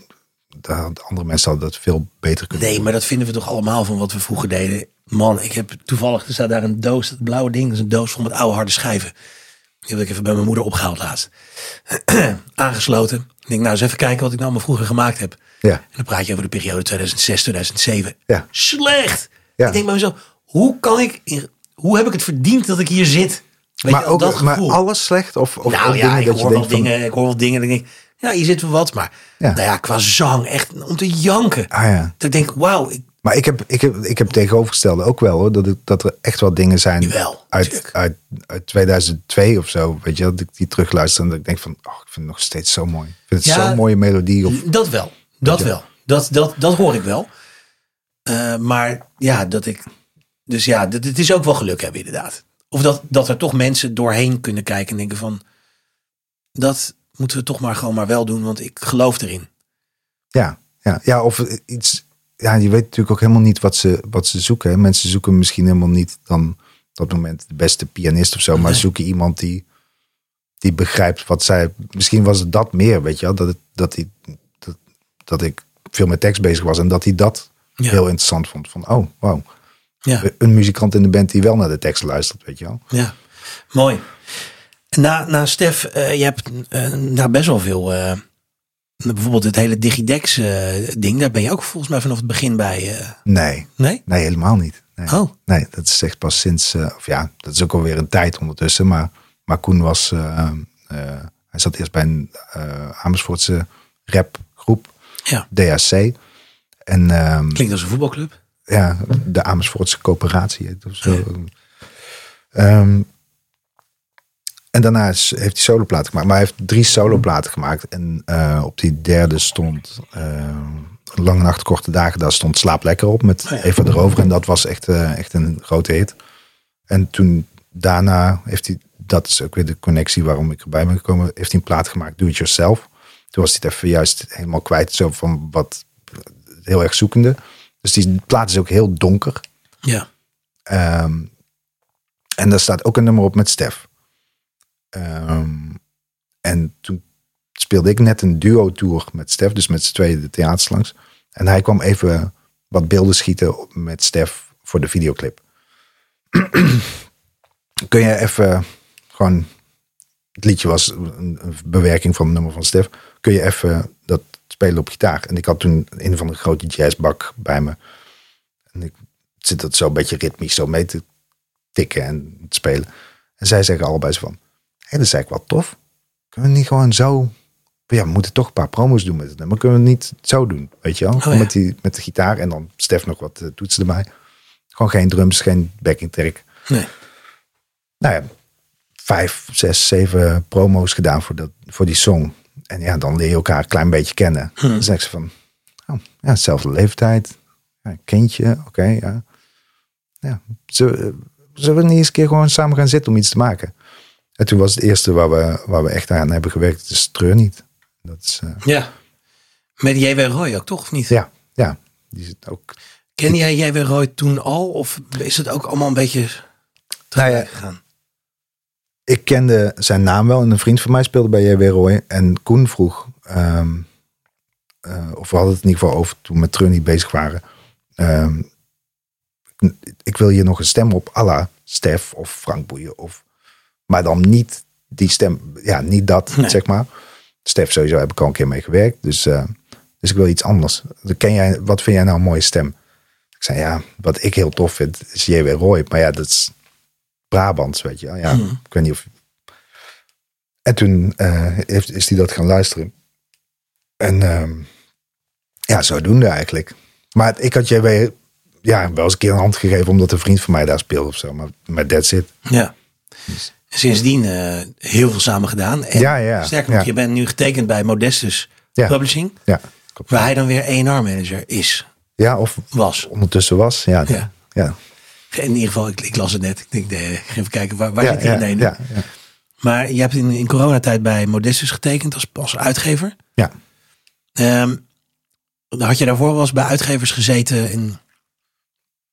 de andere mensen hadden dat veel beter kunnen.
Nee, maar dat vinden we toch allemaal van wat we vroeger deden. Man, ik heb toevallig... Er staat daar een doos, dat blauwe ding. Dat is een doos vol met oude harde schijven. Die heb ik even bij mijn moeder opgehaald laatst. Aangesloten. Ik denk, nou eens even kijken wat ik nou allemaal vroeger gemaakt heb.
Ja,
En dan praat je over de periode 2006, 2007.
Ja.
Slecht!
Ja.
Ik denk bij mezelf, hoe kan ik... in- Hoe heb ik het verdiend dat ik hier zit? Weet
maar
je, wel,
ook
dat
maar
gevoel.
alles slecht? Of, of ook
nou ja,
dingen
ik
dat je
hoor wel
denkt van,
dingen. Ik hoor wel dingen. en ik denk, ja, hier zitten we wat. Maar
Ja.
nou ja, qua zang, echt om te janken.
Ah ja.
Dat ik denk, wauw, ik,
Maar ik heb, ik heb, ik heb tegenovergestelde ook wel hoor. Dat, ik, dat er echt wel dingen zijn
Jawel,
uit,
tuurlijk.
uit, uit 2002 of zo. Weet je, dat ik die terugluister en dat ik denk van, oh, ik vind het nog steeds zo mooi. Ik vind het
Ja.
zo'n mooie melodie. Of,
dat wel. Dat wel. Dat, dat, dat hoor ik wel. Eh, maar ja, dat ik... Dus ja, dat- het is ook wel geluk hebben inderdaad. Of dat, dat er toch mensen doorheen kunnen kijken en denken van... Dat moeten we toch maar gewoon maar wel doen, want ik geloof erin.
ja, ja, ja, of iets. Ja, je weet natuurlijk ook helemaal niet wat ze, wat ze zoeken. Hè. Mensen zoeken misschien helemaal niet dan op dat moment de beste pianist of zo. Maar
Nee.
zoeken iemand die, die begrijpt wat zij. Misschien was het dat meer, weet je wel. Dat, het, dat, die, dat, dat ik veel met tekst bezig was en dat hij dat
Ja.
heel interessant vond. Van, oh, wow.
Ja.
een muzikant in de band die wel naar de tekst luistert, weet je wel.
Ja, mooi. Na, na Stef, eh, je hebt eh, nou best wel veel. eh, bijvoorbeeld het hele Digidex-ding, daar ben je ook volgens mij vanaf het begin bij. eh,
Nee,
nee?
nee, helemaal niet. Nee.
Oh,
nee, dat is echt pas sinds, eh, of ja, dat is ook alweer een tijd ondertussen. Maar, maar Koen was, eh, eh, hij zat eerst bij een eh, Amersfoortse rapgroep,
ja.
DAC. En ehm,
Klinkt als een voetbalclub.
ja, de Amersfoortse coöperatie heet het of zo. Ehm, en daarna is- heeft hij soloplaten gemaakt. Maar hij heeft drie soloplaten gemaakt. En eh, op die derde stond eh, Lange Nacht, Korte Dagen. Daar stond Slaap Lekker op met Eva erover. En dat was echt, eh, echt een grote hit. En toen daarna heeft hij, dat is ook weer de connectie waarom ik erbij ben gekomen, heeft hij een plaat gemaakt, Do It Yourself. Toen was hij het even juist helemaal kwijt, zo van wat heel erg zoekende. Dus die plaat is ook heel donker.
Ja.
Ehm, en daar staat ook een nummer op met Stef. Ehm, en toen speelde ik net een duo-tour met Stef, dus met z'n tweeën de theaters langs. En hij kwam even wat beelden schieten op- met Stef voor de videoclip. Kun je even gewoon het liedje was een, een bewerking van een nummer van Stef. Kun je even dat spelen op gitaar? En ik had toen een van de grote jazzbak bij me. En ik zit dat zo een beetje ritmisch zo mee te tikken en te spelen. En zij zeggen allebei zo van, hé, dat is eigenlijk wel tof. Kunnen we niet gewoon zo... Ja, we moeten toch een paar promos doen met het nummer. Kunnen we het niet zo doen, weet je wel? Gewoon
ja.
met, die, met de gitaar en dan Stef nog wat eh, toetsen erbij. Gewoon geen drums, geen backing track
Nee.
nou ja, vijf, zes, zeven promo's gedaan voor, dat, voor die song. En ja, dan leer je elkaar een klein beetje kennen. Dan zeg ze van, oh, ja, dezelfde leeftijd. Ja, kindje, oké, ja. ja zullen, we- zullen we niet eens een keer gewoon samen gaan zitten om iets te maken? En toen was het eerste waar we, waar we echt aan hebben gewerkt, het is Treur niet. Dat is, eh,
Ja. Met J.W. Roy ook, toch? Of niet?
ja, ja, die zit ook...
Ken jij J.W. Roy toen al? Of is het ook allemaal een beetje
Nou ja,
gegaan?
ik kende zijn naam wel en een vriend van mij speelde bij J.W. Roy. En Koen vroeg, ehm, eh, of we hadden het in ieder geval over toen we met Trunny bezig waren. ehm, ik- ik wil hier nog een stem op à la Stef of Frank Boeien. Of, maar dan niet die stem, ja, niet dat, zeg maar. Stef sowieso heb ik al een keer mee gewerkt. Dus, eh, dus ik wil iets anders. Dan Ken jij, wat vind jij nou een mooie stem? Ik zei, ja, wat ik heel tof vind is J.W. Roy. Maar ja, dat is Brabants, weet je. wel. Ja,
Mm.
Ik weet niet of... En toen eh, heeft, is hij dat gaan luisteren. En ehm, ja, zodoende eigenlijk. Maar ik had JW ja, wel eens een keer een hand gegeven... omdat een vriend van mij daar speelde of zo. Maar, maar that's it.
Ja. En Sindsdien eh, heel veel samen gedaan. En
Ja, ja,
Sterker nog,
ja.
je bent nu getekend bij Modestus
Ja.
Publishing.
Ja, klopt.
Waar hij dan weer A&R manager is,
ja of
was.
ondertussen was. Ja,
Ja.
ja. ja.
In ieder geval, ik, ik las het net. Ik denk, nee, ik ga even kijken, waar, waar
ja,
zit hij?
ja,
nee,
ja, ja.
Maar je hebt in, in coronatijd bij Modestus getekend als, als uitgever.
Ja.
Ehm, had je daarvoor wel eens bij uitgevers gezeten? In,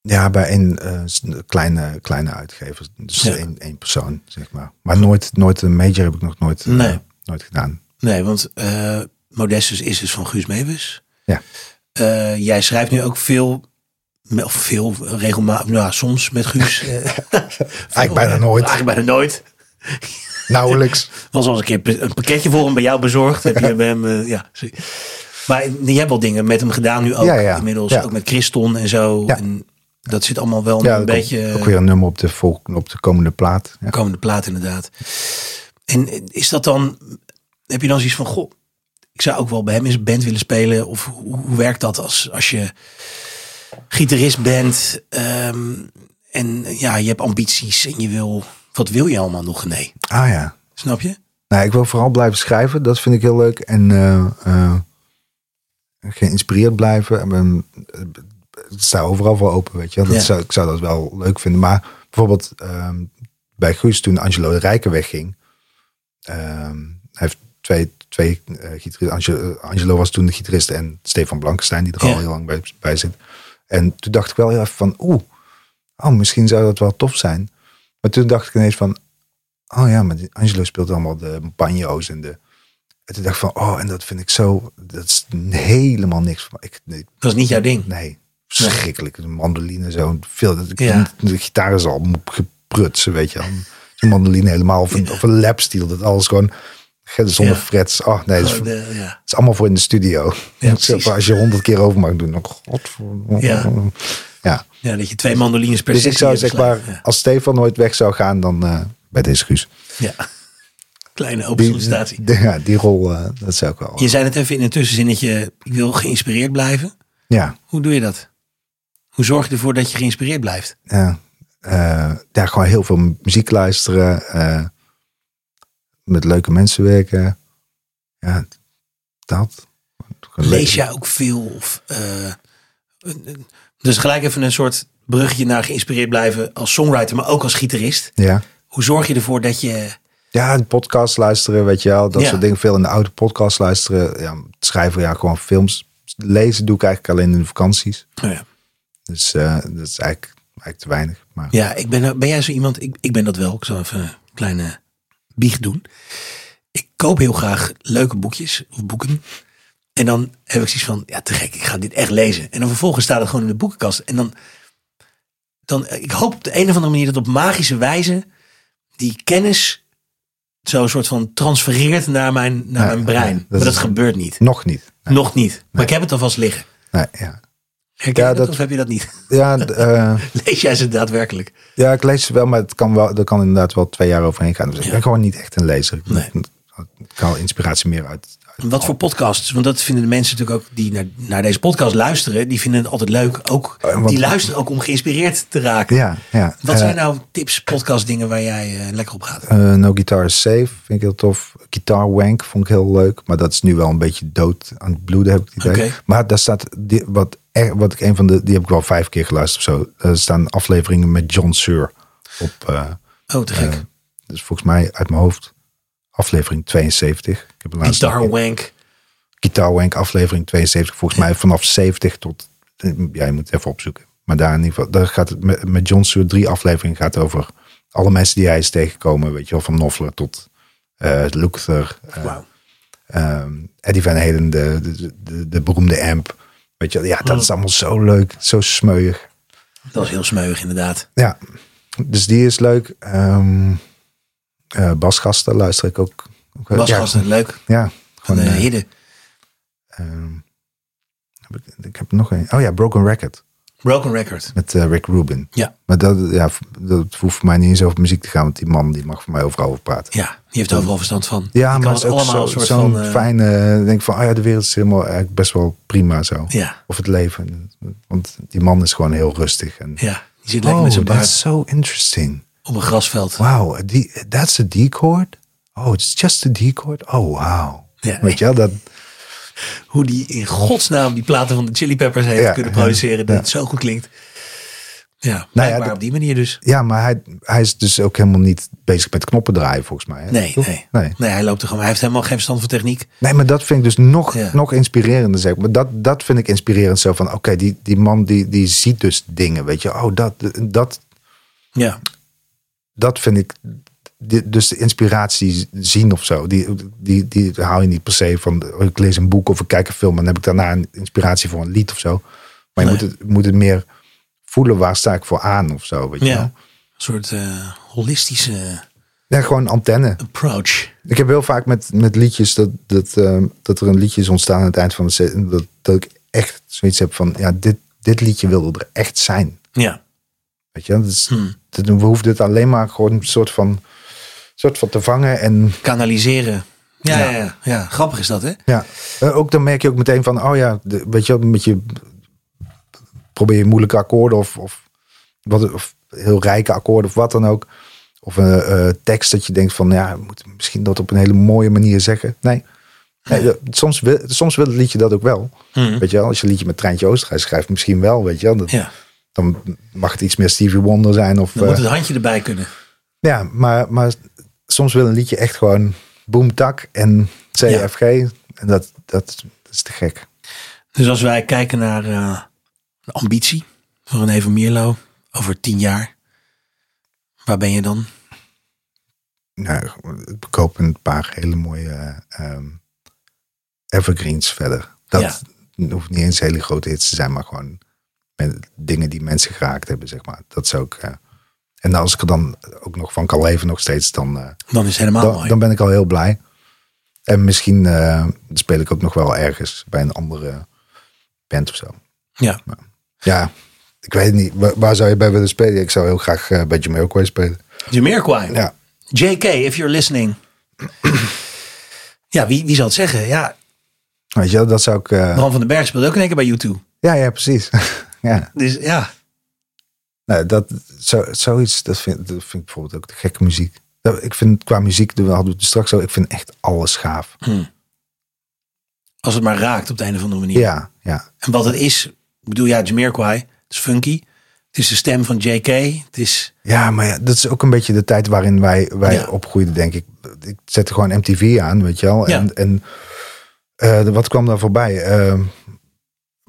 Ja, bij een eh, s- kleine, kleine uitgever. Dus
Ja.
één, één persoon, zeg maar. Maar nooit, nooit een major heb ik nog nooit, eh,
Nee.
nooit gedaan.
nee, want eh, Modestus is dus van Guus Meeuwis.
Ja.
Eh, jij schrijft nu ook veel, of veel regelmatig, nou, soms met Guus. Eh,
Eigenlijk bijna nooit.
Eigenlijk bijna nooit.
Nauwelijks.
Was al eens een keer een pakketje voor hem bij jou bezorgd. Heb je bij hem, eh, ja. sorry. Maar je hebt wel dingen met hem gedaan nu ook.
Ja, ja.
Inmiddels
Ja.
ook met Christon en zo.
Ja.
En dat zit allemaal wel
Ja,
een
er komt
beetje... eh,
ook weer een nummer op de, vol- op de komende plaat. Ja.
komende plaat inderdaad. En is dat dan, heb je dan zoiets van, goh, ik zou ook wel bij hem eens een band willen spelen? Of hoe, hoe werkt dat als, als je gitarist bent ehm, en ja, je hebt ambities en je wil, wat wil je allemaal nog? Nee,
Ah ja.
snap je?
Nou, ik wil vooral blijven schrijven. Dat vind ik heel leuk. En eh, eh, geïnspireerd blijven. En, ben- eh, ik sta overal voor open, weet je. wel. Dat
Ja.
zou, ik zou dat wel leuk vinden. Maar bijvoorbeeld ehm, bij Guus, toen Angelo de Rijken wegging. ehm, hij heeft twee, twee eh, gitaristen. Angelo, eh, Angelo was toen de gitarist. En Stefan Blankenstein, die er
Ja.
al heel lang bij, bij zit. En toen dacht ik wel heel even van... Oeh, oh, misschien zou dat wel tof zijn. Maar toen dacht ik ineens van... Oh ja, maar die Angelo speelt allemaal de banjo's en de... En toen dacht ik van, oh, en dat vind ik zo... Dat is helemaal niks van... Ik, nee,
Dat is niet jouw ding.
nee, verschrikkelijk. Een mandoline zo, veel... dat-
Ja.
De gitaar is al geprutsen, weet je wel. Een mandoline helemaal, of een, of een lapsteel. Dat alles gewoon... Zonder
Ja.
frets. Oh nee, dat is,
Gewoon, eh, ja.
het is allemaal voor in de
Ja,
studio. Zeg maar,
precies.
als je honderd keer over mag doen, dan godver...
Ja.
ja.
ja, dat je twee mandolines per
Dus ik
sessie
zou
hebt
zeg maar,
slaan.
als Stefan nooit weg zou gaan, dan eh, bij deze Guus.
Ja, ja. kleine open
Die,
sollicitatie.
de- ja, die rol, eh, dat zou ik wel.
Je zei het even in een tussenzinnetje, ik wil geïnspireerd blijven.
Ja,
Hoe doe je dat? Hoe zorg je ervoor dat je geïnspireerd blijft?
ja. Eh, daar gewoon heel veel muziek luisteren. eh, met leuke mensen werken. Ja, dat. Gewoon
Lees
leuk.
jij ook veel? Of, eh, een- een- dus gelijk even een soort bruggetje naar geïnspireerd blijven als songwriter, maar ook als gitarist.
Ja.
Hoe zorg je ervoor dat je...
Ja, podcast luisteren, weet je wel. Dat
Ja.
soort dingen. Veel in de oude podcast luisteren. Ja, schrijven, ja, gewoon films. Lezen doe ik eigenlijk alleen in de vakanties.
Oh ja.
Dus eh, dat is eigenlijk, eigenlijk te weinig. Maar
Ja, ik ben, ben jij zo iemand? Ik, ik ben dat wel. Ik zal even een kleine biecht doen. Ik koop heel graag leuke boekjes of boeken. En dan heb ik zoiets van, ja te gek, ik ga dit echt lezen. En dan vervolgens staat het gewoon in de boekenkast. En dan, eh, dan ik hoop op de een of andere manier dat op magische wijze die kennis zo een soort van transfereert naar mijn, naar
Nee,
mijn brein.
nee, dat
maar dat
is-
gebeurt niet.
Nog niet. Nee,
Nog niet. Maar ik heb het alvast liggen.
nee, ja,
Herken
Ja,
je dat,
dat-
of heb je dat niet?
ja, d- eh,
Lees jij ze daadwerkelijk?
ja, ik lees ze wel, maar het kan wel, er kan inderdaad wel twee jaar overheen gaan. Dus ik ben gewoon niet echt een lezer. Ik,
Nee.
ik haal inspiratie meer uit. uit-
En Wat voor podcasts? Want dat vinden de mensen natuurlijk ook die naar, naar deze podcast luisteren. Die vinden het altijd leuk. Ook,
Eh, want-
die luisteren ook om geïnspireerd te raken.
Ja, ja.
Wat
Eh,
zijn nou tips, podcast dingen waar jij eh, lekker op gaat?
Eh, no Guitar is Safe vind ik heel tof. Guitar Wank vond ik heel leuk. Maar dat is nu wel een beetje dood aan het bloeden, heb ik het idee.
Oké.
Maar daar staat, die, wat, er, wat ik een van de, die heb ik wel vijf keer geluisterd of zo. Er staan afleveringen met John Sur op, eh,
Oh, te gek.
dus volgens mij uit mijn hoofd, aflevering 72. Ik heb een laatste
Guitar wank.
Guitar Wank aflevering 72. Volgens mij vanaf 70 tot, ja, je moet het even opzoeken. Maar daar in ieder geval, daar gaat het met, met John Stewart drie afleveringen gaat over alle mensen die hij is tegengekomen. Weet je wel, van Noffler tot eh Luther, eh,
Wauw.
ehm, Eddie Van Halen, de, de, de, de beroemde amp. Weet je wel, ja, dat is allemaal zo leuk, zo smeuig.
Dat is heel smeuig inderdaad.
Ja, dus die is leuk. Ehm eh, Basgasten luister ik ook. ook wel.
Was
Eh, ja,
vast leuk.
ja,
Van
gewoon...
eh,
eh,
Hidde.
ehm, heb ik, ik heb nog een. Oh ja, Broken Record.
Broken Record.
Met eh, Rick Rubin.
Ja.
Maar dat, ja, v- dat hoeft voor mij niet eens over muziek te gaan, want die man die mag voor mij overal over praten.
Ja, die heeft overal verstand van. Die
Ja,
kan
maar
het
het is ook
allemaal
zo-
een
zo'n
soort van... eh,
fijne, ik denk van, oh ja, de wereld is helemaal eigenlijk best wel prima zo.
Ja,
Of het leven. Want die man is gewoon heel rustig. En,
ja, die zit lekker met
oh,
zijn baard
that's so interesting.
op een grasveld.
Wow, die- that's a D chord? Oh, it's just a D chord? Oh, wow.
Ja.
Weet je wel, dat,
Hoe die in godsnaam die platen van de Chili Peppers heeft
Ja,
kunnen
ja,
produceren. Dat het zo goed klinkt. Ja, nou
dat-
op die manier dus.
ja, maar hij, hij is dus ook helemaal niet bezig met knoppen draaien volgens mij. hè?
Nee,
Toch?
nee,
nee.
nee. hij loopt er gewoon. Hij heeft helemaal geen verstand van techniek.
Nee, maar dat vind ik dus nog,
Ja.
nog inspirerender. Zeg. ik. Maar dat, dat vind ik inspirerend. Zo van, oké, die, die man die, die ziet dus dingen, weet je. Oh, dat, dat,
Ja,
dat vind ik... die- dus de inspiratie zien of zo. Die, die, die haal je niet per se van... oh, Ik lees een boek of ik kijk een film... en dan heb ik daarna een inspiratie voor een lied of zo. Maar je
Nee.
moet, het, moet het meer voelen... waar sta ik voor aan of zo, weet je
ja.
wel.
Een soort eh, holistische
Ja, gewoon antenne.
approach.
Ik heb heel vaak met, met liedjes dat, dat, ehm, dat er een liedje is ontstaan aan het eind van de set. en Dat, dat ik echt zoiets heb van, ja, dit, dit liedje wilde er echt zijn.
Ja,
Weet je, wel? dat is, dat- we hoeven dit alleen maar gewoon een soort van, soort van te vangen. En
kanaliseren. Ja, ja. Ja, ja. grappig is dat, hè?
ja, eh, ook dan merk je ook meteen van, oh ja, de- weet je, wel, met je probeer je moeilijke akkoorden of, of, wat, of heel rijke akkoorden of wat dan ook. Of een eh, tekst dat je denkt van, ja, we moeten misschien dat op een hele mooie manier zeggen. Nee, nee
Hm.
eh, soms, wil, soms wil het liedje dat ook wel. Weet je wel, als je een liedje met Treintje Oosterhuis schrijft, misschien wel, weet je wel. Dat-
Ja.
Dan mag het iets meer Stevie Wonder zijn. Of,
Dan
eh,
moet het handje erbij kunnen.
ja, maar, maar soms wil een liedje echt gewoon boom, tak en CFG. En dat, dat, is te gek.
Dus als wij kijken naar eh, de ambitie van René van Mierlo over tien jaar. Waar ben je dan?
Nou, ik koop een paar hele mooie eh, ehm, evergreens verder. Dat hoeft niet eens hele grote hits te zijn, maar gewoon met dingen die mensen geraakt hebben, zeg maar. Dat zou ik... eh, en als ik er dan ook nog van kan leven nog steeds, dan... eh,
Dan is het helemaal
dan,
Ah, mooi.
dan ben ik al heel blij. En misschien eh, speel ik ook nog wel ergens bij een andere band of zo.
ja.
Ja, ik weet het niet. Waar, waar zou je bij willen spelen? Ik zou heel graag eh, bij Jamiroquai spelen.
Jamiroquai.
Ja,
JK, if you're listening. ja, wie, wie zal het zeggen? Ja,
weet je wel, dat zou ik... eh,
Bram van den Berg speelde ook in één keer bij U2.
ja, ja, precies. ja,
Dus ja,
nou, dat, zo, zoiets, dat vind, dat vind ik bijvoorbeeld ook de gekke muziek. Dat- Ik vind qua muziek, daar hadden we het straks al, ik vind echt alles gaaf.
als het maar raakt op de een of andere manier.
Ja, ja.
En wat het is, ik bedoel, ja, Jamiroquai, het is funky. Het is de stem van JK. Het is,
Ja, maar ja, dat is ook een beetje de tijd waarin wij, wij
Ja.
opgroeiden, denk ik. Ik zette gewoon MTV aan, weet je wel.
Ja.
En, en eh, wat kwam daar voorbij? Eh,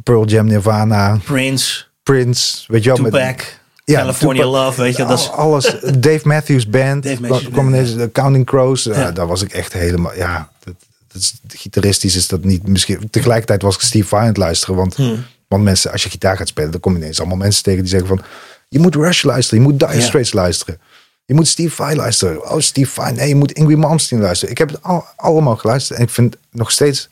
Pearl Jam, Nirvana,
Prince,
Prince, weet je wel. met-
Tupac,
ja,
California
Tupac. Oh.
Love, weet je, dat is...
Al- Alles. Dave Matthews Band.
Dave Matthews
kwam
Band,
ineens de Counting Crows. Ja,
Ja.
daar was ik echt helemaal... Ja, dat, dat is, gitaristisch is dat niet misschien... Tegelijkertijd was ik Steve Vai aan het luisteren. Want,
Hmm.
want mensen, als je gitaar gaat spelen... dan kom je ineens allemaal mensen tegen die zeggen van... Je moet Rush luisteren. Je moet Dire
Ja.
Straits luisteren. Je moet Steve Vai luisteren. Oh, Steve Vai. Nee, je moet Ingrid Malmsteen luisteren. Ik heb het al, allemaal geluisterd. En ik vind nog steeds...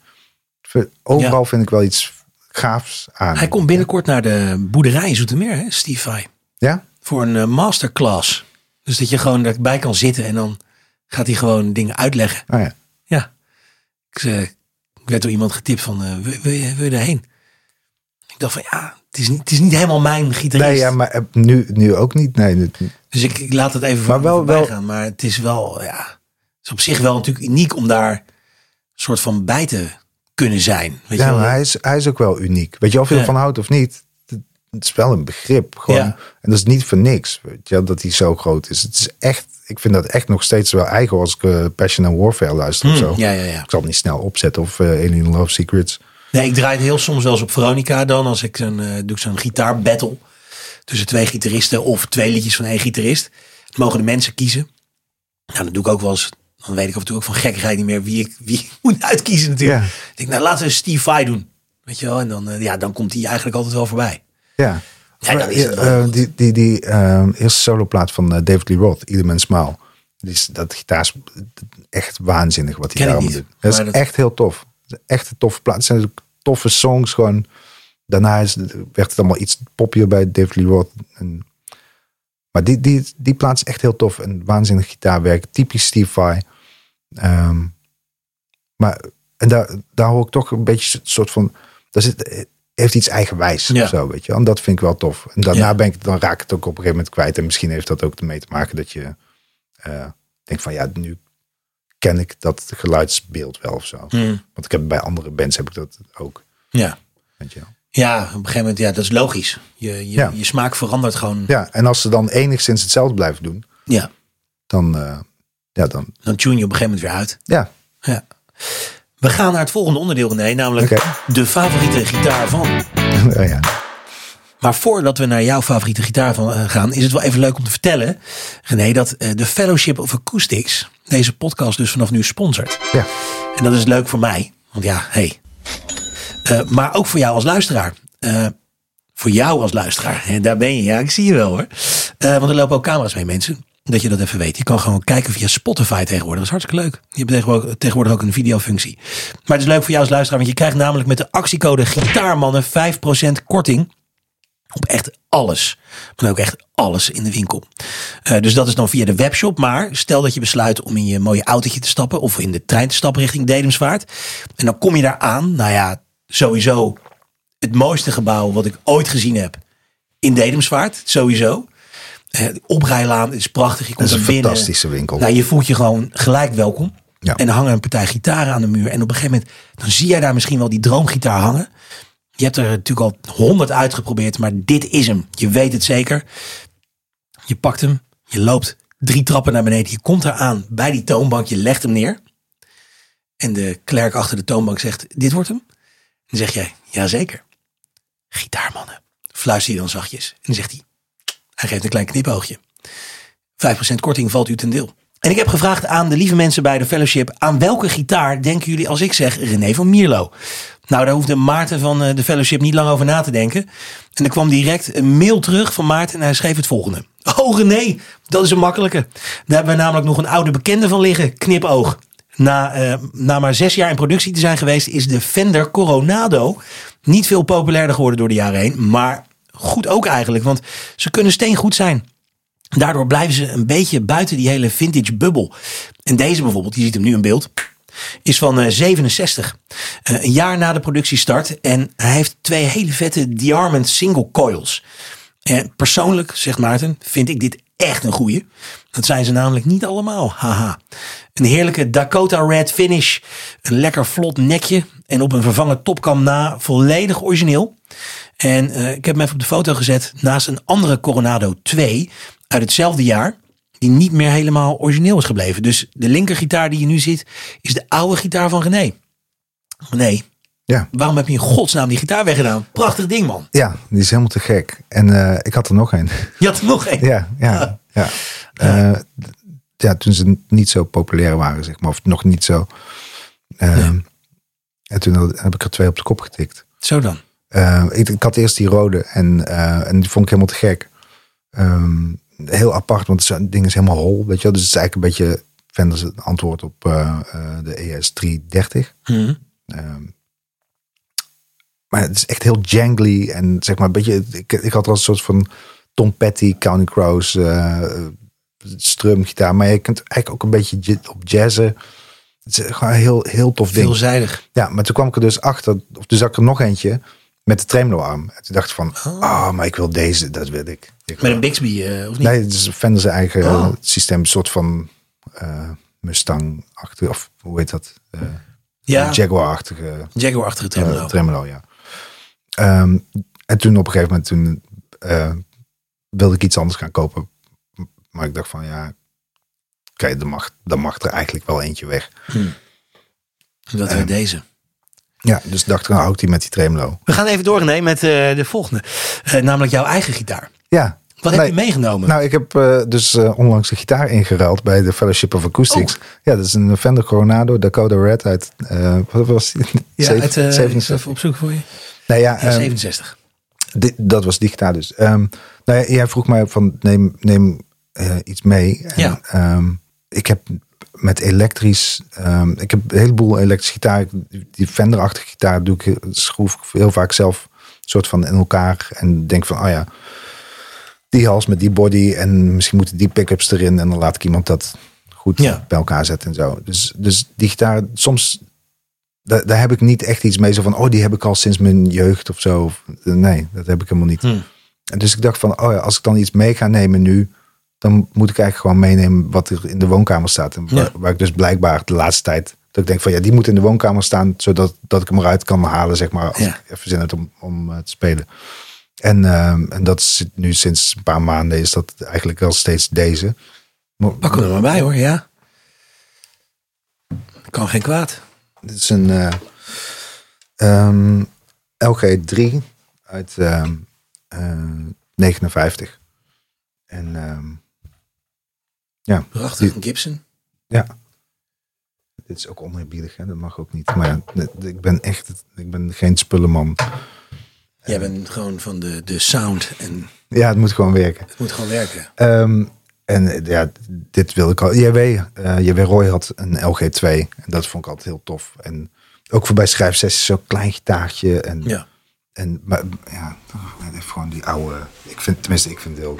vind- Overal vind ik wel iets gaafs aan.
Hij komt binnenkort naar de boerderij in Zoetermeer, hè, Steve Vai.
Ja?
Voor een eh, masterclass. Dus dat je gewoon erbij kan zitten en dan gaat hij gewoon dingen uitleggen.
Nou ja.
Ja. Ik, eh, ik werd door iemand getipt van, eh, wil, wil, je, wil je daarheen? Ik dacht van, ja, het is niet, het is niet helemaal mijn gitarist.
Nee, ja, maar eh, nu, nu ook niet. Nee, nu-
Dus ik, ik laat het even
Maar
voor
wel-
me voorbij
wel-
gaan. Maar het is wel, ja, het is op zich wel natuurlijk uniek om daar soort van bij te kunnen zijn. Weet je
ja,
wel?
maar hij is, hij is ook wel uniek. Weet je, of je
Ja.
ervan houdt of niet. Het, het is wel een begrip. Gewoon.
Ja.
En dat is niet voor niks. Weet je, wel, dat hij zo groot is. Het is echt, ik vind dat echt nog steeds wel eigen als ik eh, Passion and Warfare luister of zo.
Hmm. ja, ja, ja.
Ik zal hem niet snel opzetten of eh, Alien Love Secrets.
Nee, ik draai het heel soms wel eens op Veronica dan. Als ik een, eh, doe ik zo'n gitaarbattle tussen twee gitaristen of twee liedjes van één gitarist. Dat mogen de mensen kiezen. Nou, dat doe ik ook wel eens. Dan weet ik af en toe ook van gekkigheid niet meer wie ik, wie ik moet uitkiezen natuurlijk.
Ja.
Ik denk, nou laten we Steve Vai doen. Weet je wel, en dan, eh, ja, dan komt hij eigenlijk altijd wel voorbij.
Ja.
Ja, dat is het wel.
Eh, die die, die eh, eerste soloplaat van eh, David Lee Roth, Ieder Mens Maal. Die is, dat gitaar is echt waanzinnig wat hij
Ken ik
daarom
niet,
doet. Dat is
maar dat-
echt heel tof. Dat is Echt een toffe plaat. Het zijn ook toffe songs gewoon. Daarna is, werd het allemaal iets poppier bij David Lee Roth. En, maar die, die, die plaat is echt heel tof. En waanzinnig gitaarwerk. Typisch Steve Vai. Ehm, maar en daar, daar hoor ik toch een beetje een soort van. Daar zit, heeft iets eigenwijs
Ja.
of zo, weet je. wel. En dat vind ik wel tof. En daarna
Ja.
ben ik, dan raak ik het ook op een gegeven moment kwijt. En misschien heeft dat ook ermee te maken dat je eh, denkt van ja, nu ken ik dat geluidsbeeld wel of zo.
Hmm.
Want ik heb bij andere bands heb ik dat ook.
Ja.
Weet je. wel.
ja, op een gegeven moment, ja, dat is logisch. Je, je,
Ja.
je smaak verandert gewoon. Ja.
Ja, en als ze dan enigszins hetzelfde blijven doen, dan, eh, ja, dan
Dan tune je op een gegeven moment weer uit.
ja,
Ja. We gaan naar het volgende onderdeel, René, namelijk
Oké.
de favoriete gitaar van.
ja, ja.
Maar voordat we naar jouw favoriete gitaar van eh, gaan, is het wel even leuk om te vertellen, René, dat eh, de Fellowship of Acoustics deze podcast dus vanaf nu sponsort.
ja.
En dat is leuk voor mij, want ja, hé. Hey. Eh, maar ook voor jou als luisteraar. Eh, voor jou als luisteraar, hè, daar ben je. Ja, ik zie je wel hoor. Eh, want er lopen ook camera's mee, mensen. Dat je dat even weet. Je kan gewoon kijken via Spotify tegenwoordig. Dat is hartstikke leuk. Je hebt tegenwoordig, tegenwoordig ook een videofunctie. Maar het is leuk voor jou als luisteraar, want je krijgt namelijk met de actiecode Gitaarmannen 5% korting op echt alles. Maar ook echt alles in de winkel. Eh, dus dat is dan via de webshop. Maar stel dat je besluit om in je mooie autootje te stappen. Of in de trein te stappen richting Dedemsvaart. En dan kom je daar aan. Nou ja, sowieso het mooiste gebouw wat ik ooit gezien heb. In Dedemsvaart, sowieso. Eh, De oprijlaan is prachtig. Je komt
Dat is een
er binnen.
fantastische winkel.
Nou, je voelt je gewoon gelijk welkom.
Ja.
En er hangen een partij gitaren aan de muur. En op een gegeven moment, dan zie jij daar misschien wel die droomgitaar hangen. Je hebt er natuurlijk al honderd uitgeprobeerd, maar dit is hem. Je weet het zeker. Je pakt hem, je loopt drie trappen naar beneden. Je komt eraan bij die toonbank, je legt hem neer. En de klerk achter de toonbank zegt, dit wordt hem? Dan zeg jij, jazeker. Gitaarmannen, fluister je dan zachtjes. En dan zegt hij, hij geeft een klein knipoogje. 5% korting valt u ten deel. En ik heb gevraagd aan de lieve mensen bij de fellowship... aan welke gitaar denken jullie als ik zeg René van Mierlo? Nou, daar hoefde Maarten van eh, de fellowship niet lang over na te denken. En er kwam direct een mail terug van Maarten en hij schreef het volgende. Oh René, dat is een makkelijke. Daar hebben we namelijk nog een oude bekende van liggen, knipoog. Na, eh, na maar zes jaar in productie te zijn geweest... is de Fender Coronado niet veel populairder geworden door de jaren heen. Maar goed ook eigenlijk, want ze kunnen steengoed zijn. Daardoor blijven ze een beetje buiten die hele vintage bubbel. En deze bijvoorbeeld, je ziet hem nu in beeld, is van eh, 67. Eh, een jaar na de productiestart. En hij heeft twee hele vette Diamond single coils. En persoonlijk, zegt Maarten, vind ik dit echt een goeie. Dat zijn ze namelijk niet allemaal, haha. Een heerlijke Dakota Red finish. Een lekker vlot nekje. En op een vervangen topkam na, volledig origineel. En eh, ik heb hem even op de foto gezet naast een andere Coronado 2 uit hetzelfde jaar. Die niet meer helemaal origineel is gebleven. Dus de linkergitaar die je nu ziet is de oude gitaar van René. René,
ja.
waarom heb je in godsnaam die gitaar weggedaan? Prachtig ding man.
Ja, die is helemaal te gek. En eh, ik had er nog een.
Je had er nog één.
ja, ja, ja. Eh, d- ja, toen ze niet zo populair waren, zeg maar. Of nog niet zo. Eh, En toen had- heb ik er twee op de kop getikt.
Zo dan.
Eh, ik, ik had eerst die rode en, eh, en die vond ik helemaal te gek. Ehm, heel apart, want het ding is helemaal hol, weet je wel. Dus het is eigenlijk een beetje Fenders het antwoord op eh, eh, de ES330.
Mhm.
Ehm, maar het is echt heel jangly en zeg maar een beetje. Ik, ik had er al een soort van Tom Petty, County Crows, eh strumgitaar. Maar je kunt eigenlijk ook een beetje j- op jazzen. Het is gewoon een heel, heel tof ding.
Veelzijdig.
Ja, maar toen kwam ik er dus achter, of toen zag ik er nog eentje met de tremoloarm. En toen dacht ik
Oh.
van, ah, maar ik wil deze, dat wil ik. ik
Met een Bixby, eh, of niet?
Nee, het is Fender's eigen eh,
Oh.
systeem, een soort van eh Mustang-achtig, of hoe heet dat? Eh,
ja,
Jaguar-achtige
Jaguar-achtige
eh,
tremolo.
tremolo, ja. Ehm, en toen op een gegeven moment toen, eh, wilde ik iets anders gaan kopen. Maar ik dacht van ja, oké, dan, mag, dan mag er eigenlijk wel eentje weg.
dat werd deze.
Ja, dus dacht ik, nou hou ik die met die tremolo.
We gaan even door, René, met eh, de volgende. Eh, namelijk jouw eigen gitaar.
Ja.
Wat heb
Nee.
je meegenomen?
Nou, ik heb eh, dus eh, onlangs de gitaar ingeruild bij de Fellowship of
Oh.
Acoustics. Ja, dat is een Fender Coronado Dakota Red uit, eh, wat was die?
ja,
Zeven-
uit, eh, ik zal
67.
even op zoek voor je.
Nou ja,
Ja,
ehm,
67.
Dit- dat was die gitaar dus. Ehm, nou ja, jij vroeg mij van neem, neem eh, iets mee. En,
Ja.
ehm, ik heb met elektrisch, ehm, ik heb een heleboel elektrische gitaar. Die Fender-achtige gitaar doe ik heel- schroef ik heel vaak zelf soort van in elkaar en denk van, oh ja, die hals met die body en misschien moeten die pickups erin en dan laat ik iemand dat goed
Ja.
bij elkaar zetten en zo. Dus, dus die gitaar, soms daar, daar heb ik niet echt iets mee. Zo van, oh, die heb ik al sinds mijn jeugd of zo. Of, eh, Nee, dat heb ik helemaal niet.
Hmm.
En dus ik dacht van, oh ja, als ik dan iets mee ga nemen nu, dan moet ik eigenlijk gewoon meenemen wat er in de woonkamer staat. En waar,
Ja.
waar ik dus blijkbaar de laatste tijd, dat ik denk van, ja, die moet in de woonkamer staan, zodat dat ik hem eruit kan halen, zeg maar, als
Ja.
ik even zin heb om, om eh, te spelen. En, ehm, en dat zit nu sinds een paar maanden, is dat eigenlijk wel steeds deze. Maar,
Pak hem er maar bij hoor, ja. Kan geen kwaad.
Dit is een eh, ehm, LG3 uit ehm, eh, 59. En ehm, ja,
Prachtig, een Gibson.
ja. Dit is ook oneerbiedig, hè? dat mag ook niet. Maar ja, ik ben echt ik ben geen spullenman.
Jij bent gewoon van de, de sound en
Ja, het moet gewoon werken.
het moet gewoon werken.
Ehm, en eh, ja, dit wilde ik al. JW, eh, JW Roy had een LG2 en dat vond ik altijd heel tof. En ook voor bij schrijfsessies zo'n klein gitaartje. En,
Ja.
En maar, ja, even gewoon die oude. Ik vind, tenminste, ik vind het heel.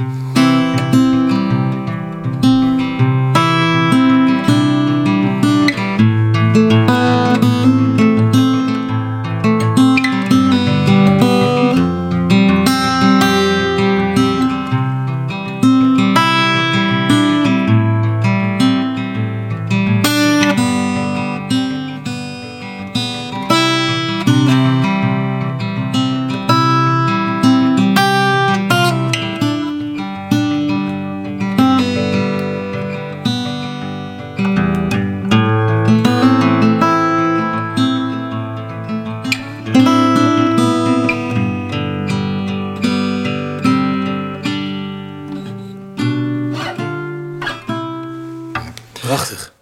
Prachtig.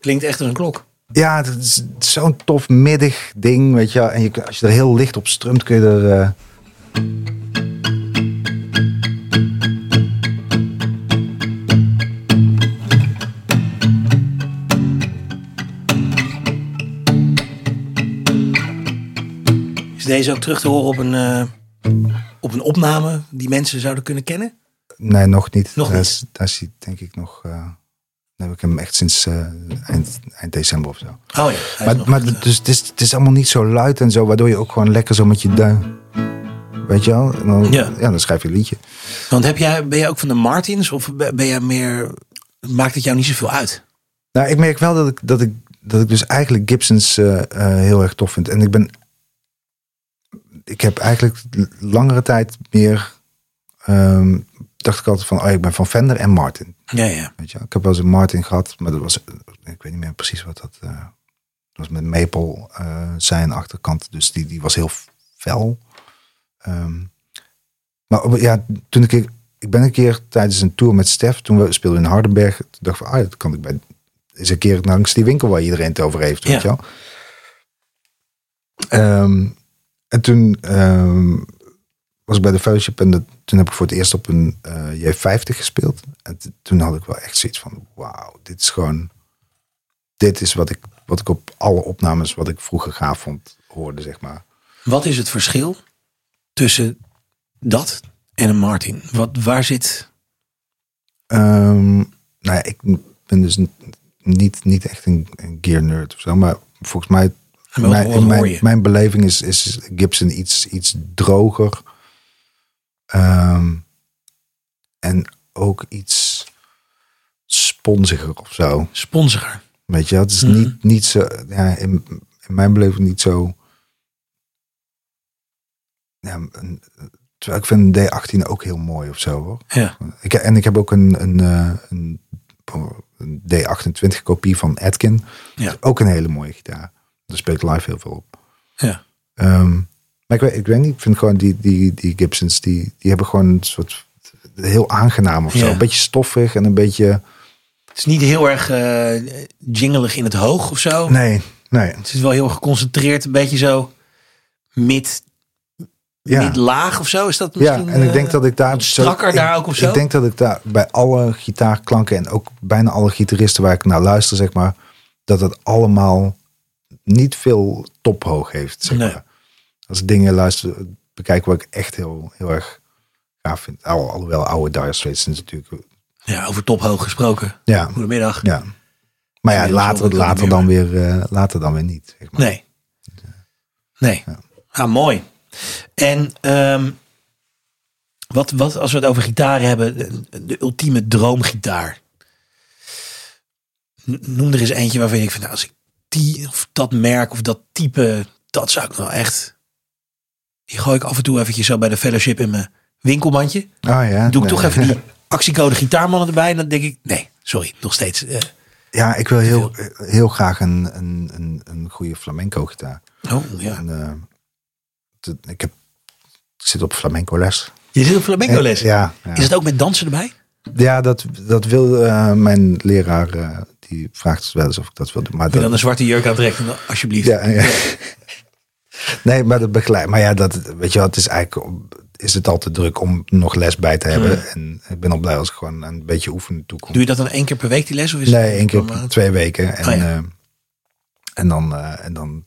Klinkt echt als een klok.
Ja, het is zo'n tof middig ding, weet je. wel. En je, kun- als je er heel licht op strumt, kun je er. eh,
Is deze ook terug te horen op een, eh, op een opname die mensen zouden kunnen kennen?
nee, nog niet.
Nog
daar,
niet.
Is, daar zie denk ik nog. eh, dan heb ik hem echt sinds eh, eind, eind december of zo.
Oh ja. hij is
Maar,
nog
maar
echt, eh,
dus, het, is, het is allemaal niet zo luid en zo, waardoor je ook gewoon lekker zo met je duim. Weet je wel? En dan,
Ja.
ja. dan schrijf je een liedje.
Want heb jij, ben jij ook van de Martins of ben ben jij meer... Maakt het jou niet zoveel uit?
Nou, ik merk wel dat ik, dat ik, dat ik dus eigenlijk Gibsons eh, eh, heel erg tof vind. En ik ben. Ik heb eigenlijk l- langere tijd meer. ehm, dacht ik altijd van. Oh, ik ben van Fender en Martin.
Ja, ja.
Weet je? wel. Ik heb wel eens een Martin gehad, maar dat was. Ik weet niet meer precies wat dat. eh, dat was met Maple eh, zijn achterkant. Dus die, die was heel fel. Ehm, maar op- ja, toen ik. Ik ben een keer tijdens een tour met Stef, toen we speelden in Hardenberg, toen dacht ik van, ah, dat kan ik bij. Is een keer langs die winkel waar iedereen het over heeft, weet
Ja.
je wel. Ehm, en toen ehm, was ik bij de fellowship en dat- toen heb ik voor het eerst op een eh, J50 gespeeld. En t- toen had ik wel echt zoiets van, wauw, dit is gewoon, dit is wat ik, wat ik op alle opnames wat ik vroeger gaaf vond, hoorde, zeg maar.
Wat is het verschil tussen dat en een Martin? Wat, waar zit...
Ehm, nou ja, ik ben dus n- niet, niet echt een, een gear nerd of zo, maar volgens mij,
En wat-
mijn,
wat hoor
mijn,
je?
mijn beleving is, is Gibson iets, iets droger. Ehm, en ook iets sponsiger of zo.
Sponsor.
Weet je, wel? het is
Mhm.
niet, niet zo, ja, in, in mijn beleving niet zo. Ja, een- terwijl ik vind een D18 ook heel mooi of zo hoor.
Ja.
Ik, en ik heb ook een, een, eh, een, een D28 kopie van Atkin.
Ja.
Ook een hele mooie gitaar. Daar speel ik live heel veel op.
ja.
Ehm, maar ik weet, ik weet niet, ik vind gewoon die, die, die Gibsons, die, die hebben gewoon een soort heel aangenaam of zo.
Ja.
Een beetje stoffig en een beetje...
Het is niet heel erg eh jingelig in het hoog of zo.
Nee, nee.
Het is wel heel geconcentreerd. Een beetje zo mid,
Ja.
mid-laag of zo. Is dat
Ja,
misschien...
en ik
eh,
denk dat ik daar... zo-
strakker
ik-
daar ook of zo?
Ik denk dat ik daar bij alle gitaarklanken en ook bijna alle gitaristen waar ik naar luister, zeg maar, dat het allemaal niet veel tophoog heeft, zeg
Nee.
maar. Als ik dingen luister, bekijk wat ik echt heel, heel erg gaaf vind. Al, alhoewel oude Dire Straits is natuurlijk...
Ja, over tophoog gesproken.
Ja,
Goedemiddag.
ja. Maar ja,
Ja,
later,
dat is
later,
wel
dan weer, eh, later dan weer niet, zeg maar.
Nee. Nee. Ah, mooi. En ehm, wat, wat, als we het over gitaren hebben, de, de ultieme droomgitaar. N- Noem er eens eentje waarvan ik vind, nou, als ik die of dat merk of dat type, dat zou ik nou echt. Die gooi ik af en toe eventjes zo bij de fellowship in mijn winkelmandje.
Oh ja.
Doe ik
nee.
toch even die actiecode gitaarmannen erbij. En dan denk ik, nee, sorry, nog steeds. eh,
Ja, ik wil heel, heel graag een, een, een, een goede flamenco gitaar.
oh, ja.
En, eh, t- ik, heb, ik zit op flamenco les. Eh,
Je zit op flamenco les.
Ja, ja.
Is het ook met dansen erbij?
ja dat, dat wil eh, mijn leraar. eh, die vraagt wel eens of ik dat wil doen. Maar
Wil je
dat-
dan een zwarte jurk aantrekken, dan- alsjeblieft.
ja, ja. nee, maar dat begeleid. Maar ja, dat, weet je wel, het is eigenlijk. om- Is het al te druk om nog les bij te hebben? En ik ben al blij als ik gewoon een beetje oefenen toe kom.
Hmm. Doe je dat dan één keer per week, die les? Of is
Nee,
het
één keer
per
per
maand?
twee weken. En,
Oh ja.
eh, en, dan, eh, en dan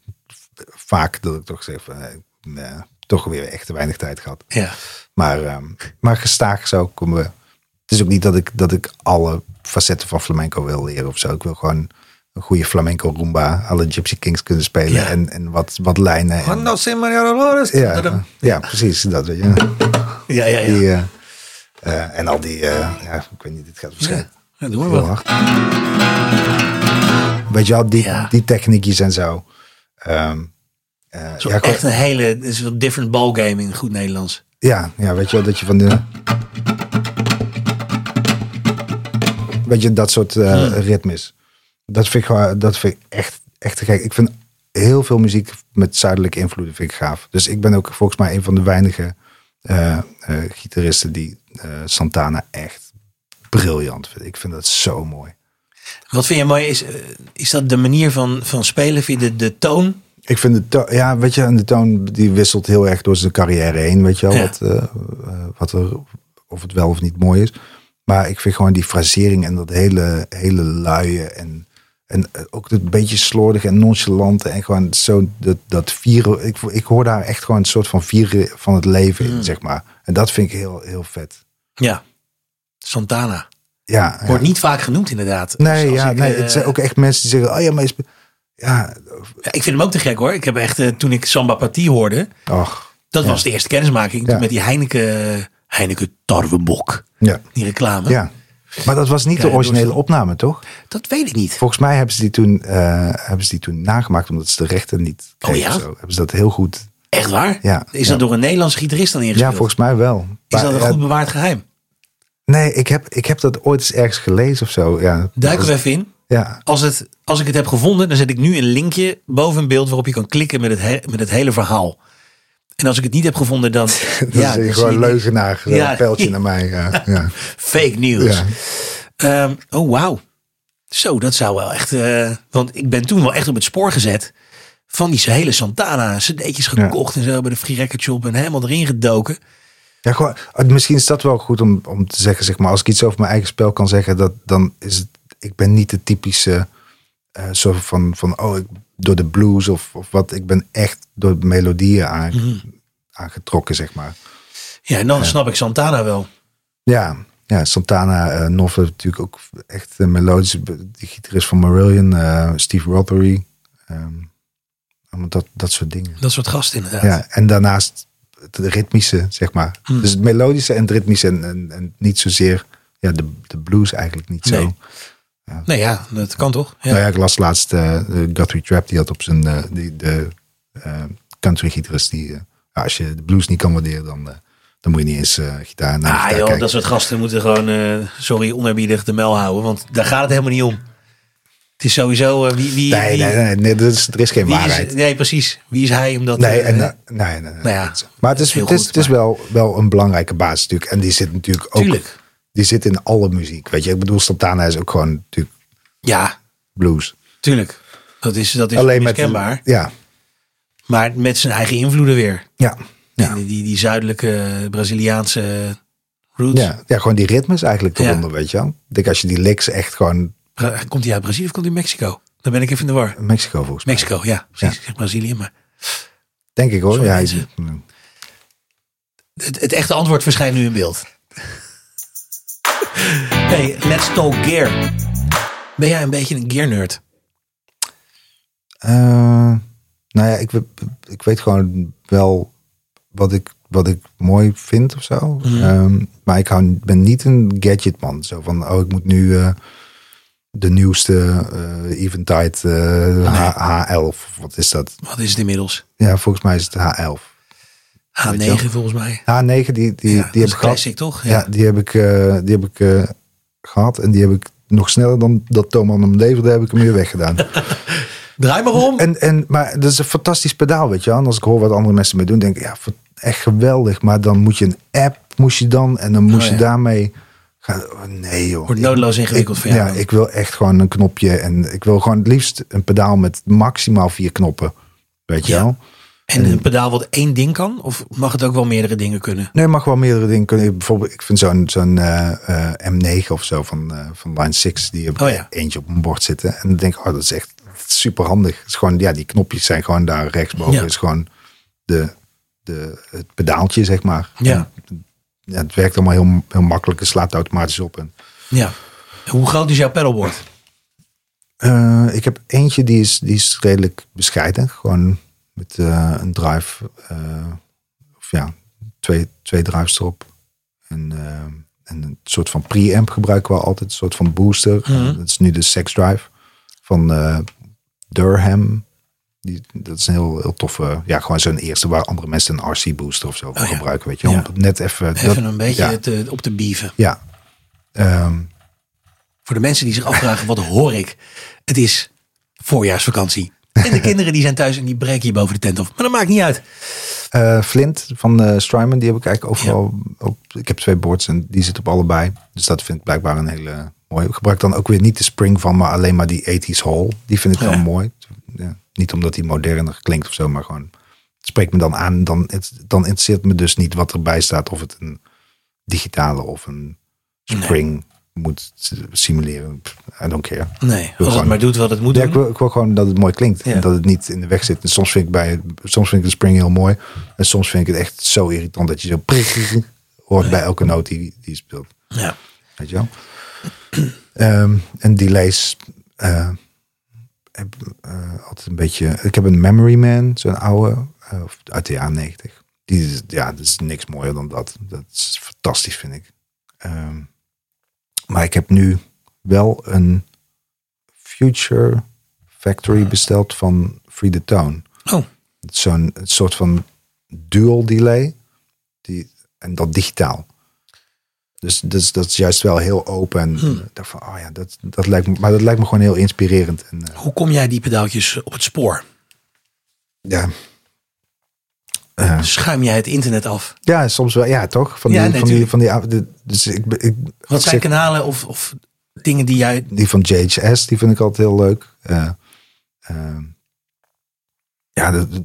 vaak dat ik toch zeg van, eh, nee, toch weer echt te weinig tijd gehad.
eh, Ja.
Maar, ehm, maar gestaag zou ik komen. Het is ook niet dat ik, dat ik alle facetten van flamenco wil leren of zo. Ik wil gewoon een goede flamenco rumba, alle Gypsy Kings kunnen spelen
Ja.
en, en wat, wat lijnen. en- ja, eh, ja, precies. Dat weet je.
ja, ja, ja.
Die, eh, eh, en al die, eh, ja, ik weet niet, dit gaat waarschijnlijk
Ja, doen we
heel
wel.
hard. Weet je wel, die,
Ja.
die techniekjes en zo. Ehm, eh,
Zo
ja, gewoon-
echt een hele, het is een different ballgame in goed Nederlands.
Ja, ja, weet je wel, dat je van de... Weet je, dat soort eh, ritmes. Dat vind ik, gewoon- dat vind ik echt, echt te gek. Ik vind heel veel muziek met zuidelijke invloeden vind ik gaaf. Dus ik ben ook volgens mij een van de weinige eh, eh, gitaristen die eh, Santana echt briljant vindt. Ik vind dat zo mooi.
Wat vind je mooi, is, eh, is dat de manier van, van spelen? Vind je de, de toon?
Ik vind de toon, ja, weet je, en de toon die wisselt heel erg door zijn carrière heen, weet je wel,
Ja.
wat, eh, eh, wat er, of het wel of niet mooi is. Maar ik vind gewoon die frasering en dat hele, hele luie en, en eh, ook dat beetje slordige en nonchalante en gewoon zo dat, dat vieren. Ik, ik hoor daar echt gewoon een soort van vieren van het leven
Hmm.
in, zeg maar. En dat vind ik heel, heel vet.
Ja. Santana.
Ja, ja.
Wordt niet vaak genoemd inderdaad.
Nee,
Dus als
ja,
ik,
nee,
eh,
het zijn ook echt mensen die zeggen, oh ja, maar je spe- ja,
ja, ik vind hem ook te gek hoor. Ik heb echt, eh, toen ik Samba Partie hoorde,
och,
dat was de eerste kennismaking.
Ja.
Toen Met die Heineken, Heineken Tarwebok.
ja,
Die reclame.
ja. Maar dat was niet de
ja,
originele
doorstel-
opname, toch?
Dat weet ik niet.
Volgens mij hebben ze die toen, eh, hebben ze die toen nagemaakt omdat ze de rechten niet kregen.
Oh ja?
of zo. Hebben ze dat heel goed.
Echt waar?
Ja,
is
ja.
dat door een Nederlandse gitarist dan
Ja,
ingespeeld?
volgens mij wel.
Is
Maar,
dat een
ja,
goed bewaard geheim?
Nee, ik heb, ik heb dat ooit eens ergens gelezen of zo. Ja,
Duiken we even in.
ja.
Als, het, als ik het heb gevonden, dan zet ik nu een linkje boven een beeld waarop je kan klikken met het, he- met het hele verhaal. En als ik het niet heb gevonden, dan.
Dat ja, is
dan zie
gewoon
ik
leugenaar. Een
Ja.
pijltje naar mij. Ja, ja.
Fake news.
ja.
Ehm, oh, wauw. Zo, dat zou wel echt. eh, want ik ben toen wel echt op het spoor gezet. Van die hele Santana. cd'tjes gekocht en zo bij de Free Record Shop. En helemaal erin gedoken.
Ja, gewoon, misschien is dat wel goed om, om te zeggen, zeg maar, als ik iets over mijn eigen spel kan zeggen, dat, dan is het, ik ben niet de typische eh soort van, van oh, ik, door de blues of, of wat. Ik ben echt door de melodieën aan,
Mhm.
aangetrokken, zeg maar.
Ja, en dan snap ik Santana wel.
Ja, ja Santana, eh Noff heeft natuurlijk ook echt een melodische, de gitarist van Marillion, eh, Steve Rothery, ehm, allemaal dat, dat soort dingen.
Dat soort gasten inderdaad.
Ja, en daarnaast het ritmische, zeg maar.
Hmm.
Dus het melodische en het ritmische en, en, en niet zozeer ja, de, de blues eigenlijk niet zo.
Nee. Nee, ja, dat kan toch? Ja.
Nou ja, ik las laatst eh Guthrie Trap, die had op zijn eh, die, de eh, country gitarist die, eh, ja, als je de blues niet kan waarderen, dan, eh, dan moet je niet eens eh, gitaar naar
Ah
gitaar
joh,
kijken.
dat soort gasten moeten gewoon, eh, sorry, onerbiedig de mel houden. Want daar gaat het helemaal niet om. Het is sowieso, eh, wie, wie,
Nee,
wie,
nee, nee, nee, dat is, er is geen
wie
waarheid.
is, nee, precies. Wie is hij om dat
Nee,
eh,
en, eh, nee, nee, nee.
nou ja,
maar het is,
heel
het is,
goed,
het is
maar-
wel, wel een belangrijke basis natuurlijk. En die zit natuurlijk ook
Tuurlijk.
die zit in alle muziek. Weet je, ik bedoel, Santana is ook gewoon natuurlijk
Ja,
blues.
tuurlijk. Dat is, dat is
Alleen met.
onmiskenbaar.
Ja,
Maar met zijn eigen invloeden weer.
ja, ja.
Die, die, die zuidelijke Braziliaanse roots.
Ja, ja, gewoon die ritmes eigenlijk
Ja.
eronder, weet je wel. Ik denk als je die licks echt gewoon
Bra- Komt hij uit Brazilië of komt hij uit Mexico? Dan ben ik even in de war.
Mexico volgens mij.
Mexico, ja. Precies, ik zeg Brazilië. Maar
Denk ik hoor.
Sorry,
Ja,
mensen. het, het echte antwoord verschijnt nu in beeld. hey, let's talk gear. Ben jij een beetje een gear nerd?
Eh, nou ja, ik, we- ik weet gewoon wel wat ik, wat ik mooi vind of zo.
Mhm.
Ehm, maar ik hou, ben niet een gadgetman. Zo van, oh, ik moet nu eh, de nieuwste eh Eventide
Ah,
eh, H- H11. of Wat is dat?
Wat is het inmiddels?
Ja, volgens mij is het H11.
H9
Weet je
volgens mij.
H9, die, die,
Ja, dat
die
is
heb ik gehad.
classic, toch?
Ja, die heb ik, eh, die heb ik eh, gehad. En die heb ik nog sneller dan dat Thomas hem leverde, heb ik hem weer weggedaan.
Draai maar om.
En, en, maar dat is een fantastisch pedaal, weet je wel. En als ik hoor wat andere mensen mee doen, denk ik, ja, fa- echt geweldig. Maar dan moet je een app, moest je dan, en dan moest
Oh,
je
ja.
daarmee gaan. oh, nee, joh.
Wordt
Ik-
noodloos ingewikkeld
ik-
voor jou
eh, Ja,
dan.
ik wil echt gewoon een knopje. En ik wil gewoon het liefst een pedaal met maximaal vier knoppen, weet je
Ja.
wel.
En
eh,
een pedaal wat één ding kan? Of mag het ook wel meerdere dingen kunnen?
Nee, je mag wel meerdere dingen kunnen. Bijvoorbeeld, ik vind zo'n zo'n eh, eh, M9 of zo van, eh, van Line 6, die heb
Oh, ja.
eentje op mijn bord zitten. En dan denk ik, oh, dat is echt super handig. Het is gewoon, ja, die knopjes zijn gewoon daar rechtsboven.
Ja.
Het is gewoon de, de, het pedaaltje, zeg maar.
Ja.
En, ja, het werkt allemaal heel, heel makkelijk. Het slaat automatisch op. En,
Ja. Hoe groot is jouw paddleboard?
eh, ik heb eentje, die is, die is redelijk bescheiden. Gewoon met eh, een drive, eh, of ja, twee, twee drives erop. En, eh, en een soort van preamp gebruiken we altijd, een soort van booster.
Mhm.
En Dat is nu de sex drive van eh, Durham. Die, dat is een heel, heel toffe, ja, gewoon zo'n eerste waar andere mensen een RC booster of zo voor
Oh ja.
gebruiken, weet je. wel.
Ja.
Om net even...
Even
dat-
een beetje
Ja,
het, eh, op te bieven.
ja. Ehm,
Voor de mensen die zich afvragen, wat hoor ik? Het is voorjaarsvakantie. En de kinderen die zijn thuis en die breken hier boven de tent af. Maar dat maakt niet uit.
Eh, Flint van eh Strymon, die heb ik eigenlijk overal op. Ik heb twee boards en die zit op allebei. Dus dat vind ik blijkbaar een hele mooie. Ik gebruik dan ook weer niet de spring van, maar alleen maar die 80s hall. Die vind ik wel
Ja.
mooi. Ja, niet omdat die moderner klinkt of zo, maar gewoon het spreekt me dan aan. Dan, het, dan interesseert me dus niet wat erbij staat. Of het een digitale of een spring moet simuleren. Pff, I don't care.
Nee,
Wil
als het
gewoon-
maar doet wat het moet
Ja,
doen.
ik wil, ik wil gewoon dat het mooi klinkt.
Ja.
En dat het niet in de weg zit. En soms vind ik, bij, soms vind ik de spring heel mooi. En soms vind ik het echt zo irritant dat je zo prik hoort bij elke noot die, die je speelt.
Ja.
Weet je wel? Ehm, en delays. eh, heb, eh, altijd een beetje. Ik heb een Memory Man, zo'n oude. eh, of uit de jaren 90. Die is, ja, dat is niks mooier dan dat. Dat is fantastisch, vind ik. Ehm, maar ik heb nu wel een Future Factory besteld van Free the Tone.
Oh,
Het is Zo'n een soort van dual delay. Die, en dat digitaal. Dus, dus dat is juist wel heel open. En
Hmm.
eh, ik dacht van, oh ja, dat, dat lijkt me, maar dat lijkt me gewoon heel inspirerend. En, eh,
hoe kom jij die pedaaltjes op het spoor?
ja.
Schuim jij het internet af?
ja, soms wel. Ja, toch? Van die,
Ja, nee,
van die,
tuurlijk.
van die, de- dus ik, be- ik,
Wat zijn
zeg-
kanalen of, of dingen die jij...
die van JHS, die vind ik altijd heel leuk. Eh, ehm, eh, ja, dat, dat-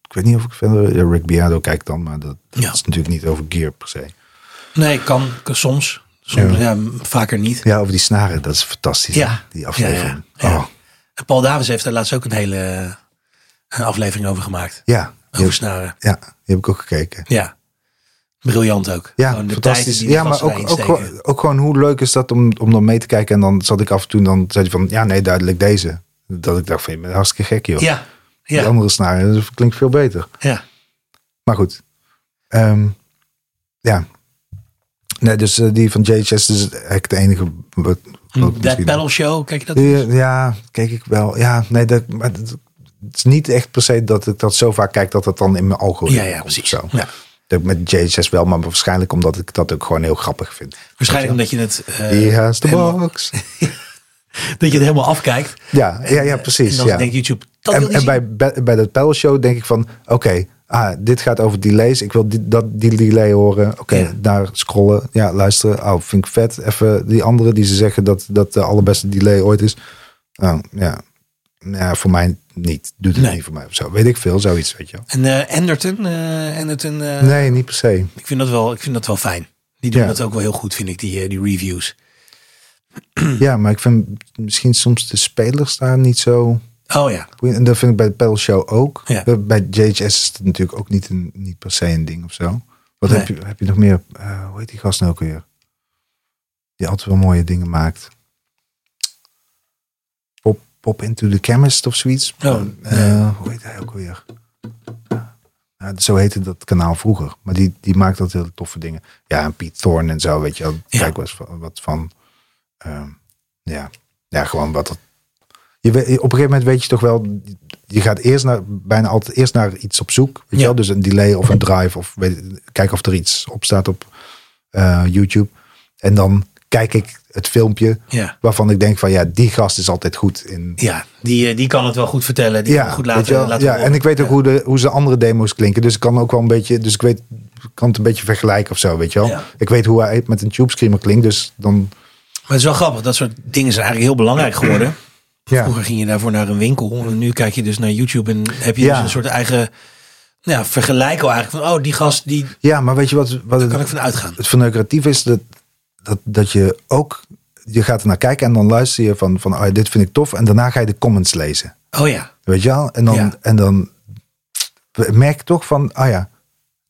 Ik weet niet of ik verder... ja, Rick Beato kijk dan, maar dat, dat
Ja.
is natuurlijk niet over gear per se.
Nee, kan, kan soms. Soms ja. vaker niet.
Ja, over die snaren, dat is fantastisch. hè,
Ja.
Die aflevering.
Ja, ja, ja.
Oh,
En Paul Davies heeft daar laatst ook een hele eh, een aflevering over gemaakt.
ja. Die
Over
heb,
snaren.
ja, die heb ik ook gekeken.
Ja. Briljant ook.
Ja,
Gewoon Oh, de
fantastisch.
tijd die die
Ja, maar
gasten
ook,
daarin
ook,
steken.
gewoon- ook gewoon hoe leuk is dat om, om dan mee te kijken. En dan zat ik af en toe, dan zei hij van, ja nee, duidelijk deze. Dat ik dacht van, je bent hartstikke gek joh.
Ja,
Die
ja,
andere snaren, dat klinkt veel beter.
ja.
Maar goed. Ehm, ja. Nee, dus eh, die van JHS is eigenlijk de enige... Wat, wat
Dead
misschien-
Panel Show, kijk je dat?
Ja, ja, keek ik wel. Ja, nee, dat, maar dat- het is niet echt per se dat ik dat zo vaak kijk dat dat dan in mijn algoritme
Ja, ja,
komt
precies.
of Zo.
Ja.
Dat ik met JHS wel, maar waarschijnlijk omdat ik dat ook gewoon heel grappig vind.
Waarschijnlijk omdat je het, eh,
He has the
helemaal-
box.
dat je het helemaal afkijkt.
Ja, ja, ja,
En
precies.
dan
ja.
denkt YouTube, dat wil
En,
je
en bij, bij bij dat panelshow denk ik van, oké, ah, dit gaat over delays. Ik wil die, dat, die delay horen. Oké,
Ja.
daar scrollen. Ja, luisteren. Oh, vind ik vet. Even die andere die ze zeggen dat dat de allerbeste delay ooit is. Oh, ja. ja, voor mij niet. Doet het
Nee.
niet voor mij of zo. Weet ik veel, zoiets, weet je wel.
En eh Anderton, eh, Anderton eh,
Nee, niet per se.
ik, vind dat wel, ik vind dat wel fijn. Die doen
Ja.
dat ook wel heel goed, vind ik, die, eh, die reviews. Hmm.
Ja, maar ik vind misschien soms de spelers daar niet zo...
Oh ja,
En dat vind ik bij de Pedal Show ook.
Ja.
Bij- Bij JHS is het natuurlijk ook niet, een, niet per se een ding of zo. Wat
Nee.
heb, je, heb je nog meer? eh, hoe heet die gast nou ook weer? Die altijd wel mooie dingen maakt. Pop, pop into the chemist of zoiets.
Oh,
Eh, Hoe heet hij ook weer? Nou, zo heette dat kanaal vroeger. Maar die, die maakt altijd hele toffe dingen. Ja, en Piet Thorne en zo, weet je wel.
Ja.
Kijk wel eens van- wat van. ehm, ja. ja, gewoon wat dat je weet, op een gegeven moment weet je toch wel, je gaat eerst naar, bijna altijd eerst naar iets op zoek. Weet
Ja.
je wel? Dus een delay of een drive of weet, kijk of er iets op staat op eh, YouTube. En dan kijk ik het filmpje
ja.
waarvan ik denk van ja, die gast is altijd goed in.
ja. Die, eh, die kan het wel goed vertellen. Die kan
Ja,
het goed
weet je
laten,
wel?
laten
ja
horen.
en ik weet ook hoe, de, hoe ze andere demo's klinken. Dus ik kan ook wel een beetje, dus ik weet, ik kan het een beetje vergelijken of zo, weet je wel.
Ja.
Ik weet hoe hij met een tube screamer klinkt, dus dan...
Maar het is wel grappig, dat soort dingen zijn eigenlijk heel belangrijk geworden.
Ja.
Vroeger ging je daarvoor naar een winkel. En nu kijk je dus naar YouTube en heb je
Ja.
dus een soort eigen nou ja, vergelijk al eigenlijk. Van, oh, die gast, die
Ja, maar weet je wat, wat het,
kan ik van uitgaan.
het verneukeratief is dat, dat, dat je ook, je gaat er naar kijken en dan luister je van, van oh, dit vind ik tof. En daarna ga je de comments lezen.
Oh ja,
Weet je wel? En dan,
Ja.
en dan merk je toch van, ah ja,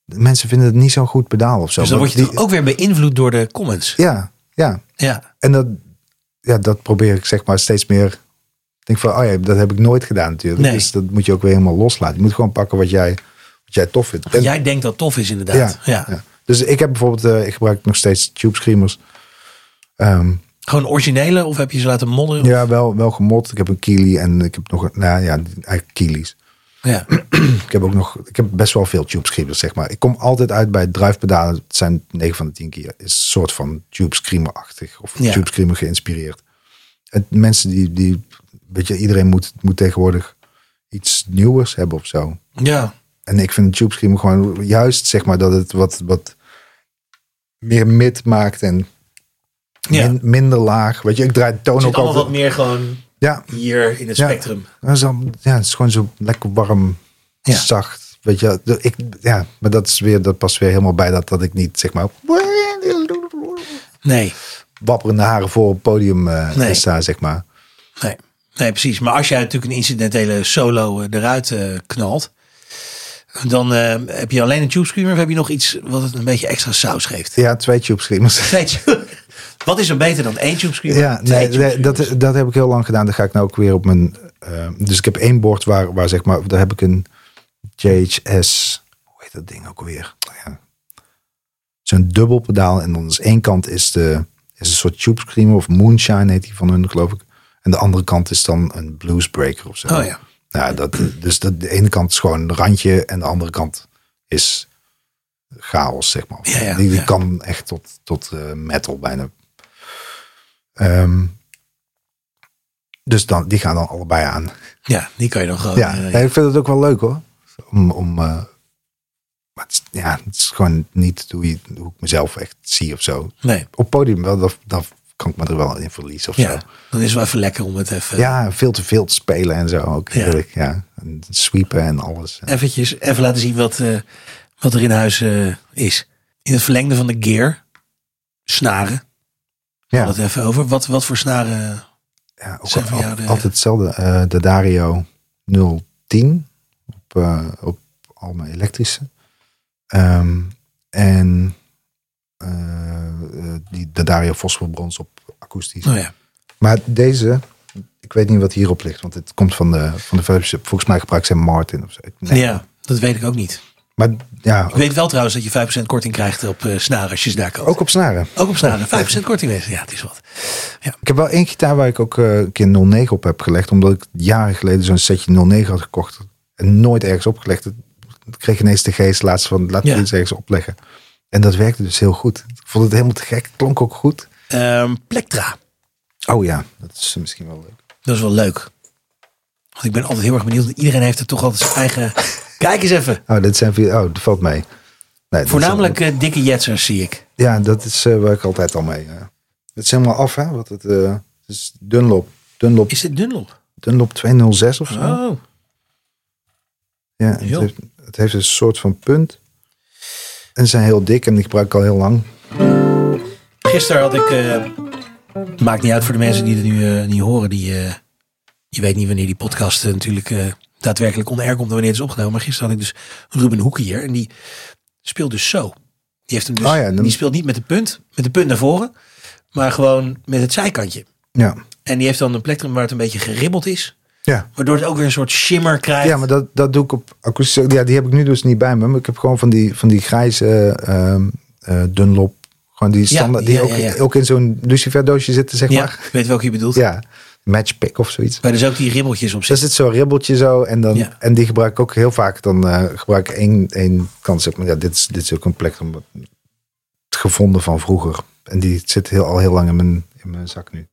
de mensen vinden het niet zo'n goed pedaal of zo.
dus dan
Want
word je
die-
toch ook weer beïnvloed door de comments.
Ja, ja.
Ja,
En dat, ja, dat probeer ik zeg maar steeds meer. Ik denk van, oh ja, dat heb ik nooit gedaan natuurlijk.
Nee.
Dus dat moet je ook weer helemaal loslaten. Je moet gewoon pakken wat jij, wat jij tof vindt. En-
jij denkt dat tof is inderdaad. Ja,
ja. Dus ik heb bijvoorbeeld, eh, ik gebruik nog steeds tube screamers. Ehm,
Gewoon originele of heb je ze laten modderen?
ja, wel, wel gemot. Ik heb een Kili en ik heb nog een, nou ja, eigenlijk Kili's.
Ja.
Ik heb ook nog, ik heb best wel veel tube screamers, zeg maar. Ik kom altijd uit bij drijfpedalen. Het zijn 9 van de 10 keer. Is een soort van tube screamer-achtig of
Ja.
tube screamer geïnspireerd. En mensen die, die, weet je, iedereen moet, moet tegenwoordig iets nieuwers hebben of zo.
ja.
En ik vind Tube Screamer gewoon juist, zeg maar, dat het wat, wat meer mid maakt en
Ja.
min- minder laag. Weet je, ik draai de toon
Het
ook
zit allemaal
altijd.
wat meer gewoon
Ja,
hier in het
Ja.
spectrum.
dat is al- ja, het is gewoon zo lekker warm,
Ja.
zacht. Weet je, de- ik, ja, maar dat, is weer, dat past weer helemaal bij dat, dat ik niet, zeg maar,
Nee,
wapperende haren voor op het podium eh,
Nee.
sta, zeg maar.
nee. Nee, precies. Maar als jij natuurlijk een incidentele solo eh, eruit eh, knalt, dan eh, heb je alleen een tube screamer of heb je nog iets wat het een beetje extra saus geeft?
Ja, twee Tube Screamers.
Twee tube- wat is er beter dan één tube screamer?
Ja,
Twee
nee,
tube
nee, dat,
screamers.
dat heb ik heel lang gedaan. Dan ga ik nou ook weer op mijn. eh, dus ik heb één bord waar, waar zeg maar. Daar heb ik een JHS. Hoe heet dat ding ook alweer? Nou ja, Zo'n dubbelpedaal. En dan is één kant is, de, is een soort tube screamer of moonshine heet die van hun, geloof ik. En de andere kant is dan een bluesbreaker of zo.
Oh ja.
Nou, dat, dus dat, de ene kant is gewoon een randje en de andere kant is chaos, zeg maar.
Ja, ja,
die die
ja.
kan echt tot, tot eh, metal bijna. Ehm, dus dan, die gaan dan allebei aan.
Ja, die kan je dan gewoon.
ja,
eh,
nee, ik vind het ook wel leuk hoor. Om, om, eh, maar het, is- ja, het is gewoon niet hoe, je, hoe ik mezelf echt zie of zo.
nee.
Op podium wel, dat, dat kan ik me er wel in verliezen of zo.
Ja, dan is het wel even lekker om het even.
Ja, veel te veel te spelen en zo ook.
Ja.
Heerlijk, ja. en sweepen en alles.
Eventjes, even laten zien wat, eh, wat er in huis eh, is. In het verlengde van de gear, snaren.
Ja.
Wat even over. Wat, wat voor snaren? eh,
Ja, ook
Zijn voor
al-
jou de-
altijd hetzelfde. Eh, de Dario 010 op, eh, op al mijn elektrische. Ehm, en eh, eh, die, de Dario fosforbrons op akoestisch.
Nou ja,
Maar deze, ik weet niet wat hierop ligt, want het komt van de, van de Philips. Volgens mij gebruiken ze Martin of zo. Ik- nee.
ja, dat weet ik ook niet.
Maar ja,
Ik weet wel trouwens dat je 5% korting krijgt op eh, snaren als je ze daar koopt.
ook op snaren.
Ook op snaren. 5% korting wezen. Ja, het is wat.
Ik heb wel één gitaar waar ik ook eh, een keer 09 op heb gelegd. Omdat ik jaren geleden zo'n setje 09 had gekocht. En nooit ergens opgelegd. Ik kreeg ineens de geest laatst van laat
Ja.
ik iets ergens opleggen. En dat werkte dus heel goed. Ik vond het helemaal te gek. Het klonk ook goed.
Ehm, Plektra.
Oh ja, dat is misschien wel leuk.
Dat is wel leuk. Want ik ben altijd heel erg benieuwd. want Iedereen heeft er toch altijd zijn eigen... Kijk eens even.
Oh, dit zijn vier. Oh, dat valt mee. Nee, dat is-
Voornamelijk eh, dikke jetsers zie ik.
ja, dat is eh, waar ik altijd al mee. eh. het is helemaal af, hè? Wat het, eh, het is Dunlop. Dunlop,
Is dit Dunlop?
Dunlop 206 of zo.
Oh.
Ja, het
Joh.
heeft, het heeft een soort van punt. En ze zijn heel dik en die gebruik ik al heel lang.
Gisteren had ik... eh, maakt niet uit voor de mensen die het nu eh, niet horen. Die, eh, je weet niet wanneer die podcast eh, natuurlijk eh, daadwerkelijk on air komt. En wanneer het is opgenomen. Maar gisteren had ik dus Ruben Hoeken hier. En die speelt dus zo. Die, heeft hem dus,
Oh ja, dan-
die speelt niet met de punt. Met de punt naar voren. Maar gewoon met het zijkantje.
Ja,
En die heeft dan een plektrum waar het een beetje geribbeld is.
ja.
Waardoor het ook weer een soort shimmer krijgt.
ja maar dat, dat doe ik op akoestische... Ja, die heb ik nu dus niet bij me. Maar ik heb gewoon van die, van die grijze ehm, eh, Dunlop... Gewoon die standaard...
ja,
die
ja,
ook,
ja.
ook in zo'n lucifer doosje zitten, zeg
Ja,
maar.
weet welke je bedoelt.
Ja, matchpick of zoiets.
Waar dus ook die ribbeltjes op
Dus
zitten.
er zit zo'n ribbeltje zo. En, dan,
Ja.
en die gebruik ik ook heel vaak. Dan eh, gebruik ik één, één kant. Zeg maar, ja, dit, is, dit is ook een plek om het gevonden van vroeger. En die zit heel, al heel lang in mijn, in mijn zak nu.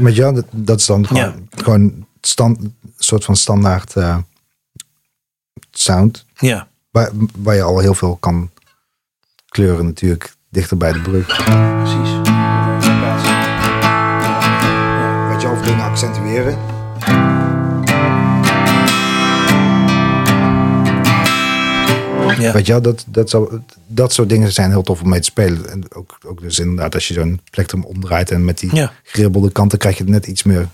Met jou, dat, dat is dan gewoon, gewoon stand, een soort van standaard eh, sound.
Ja.
Waar, waar je al heel veel kan kleuren natuurlijk. Dichter bij de brug.
Precies.
Wat je over dingen accentueren.
Ja.
Weet je wel, dat, dat, zou, dat soort dingen zijn heel tof om mee te spelen. En ook, ook dus inderdaad, als je zo'n plektrum omdraait en met die
Ja.
geribbelde kanten krijg je net iets meer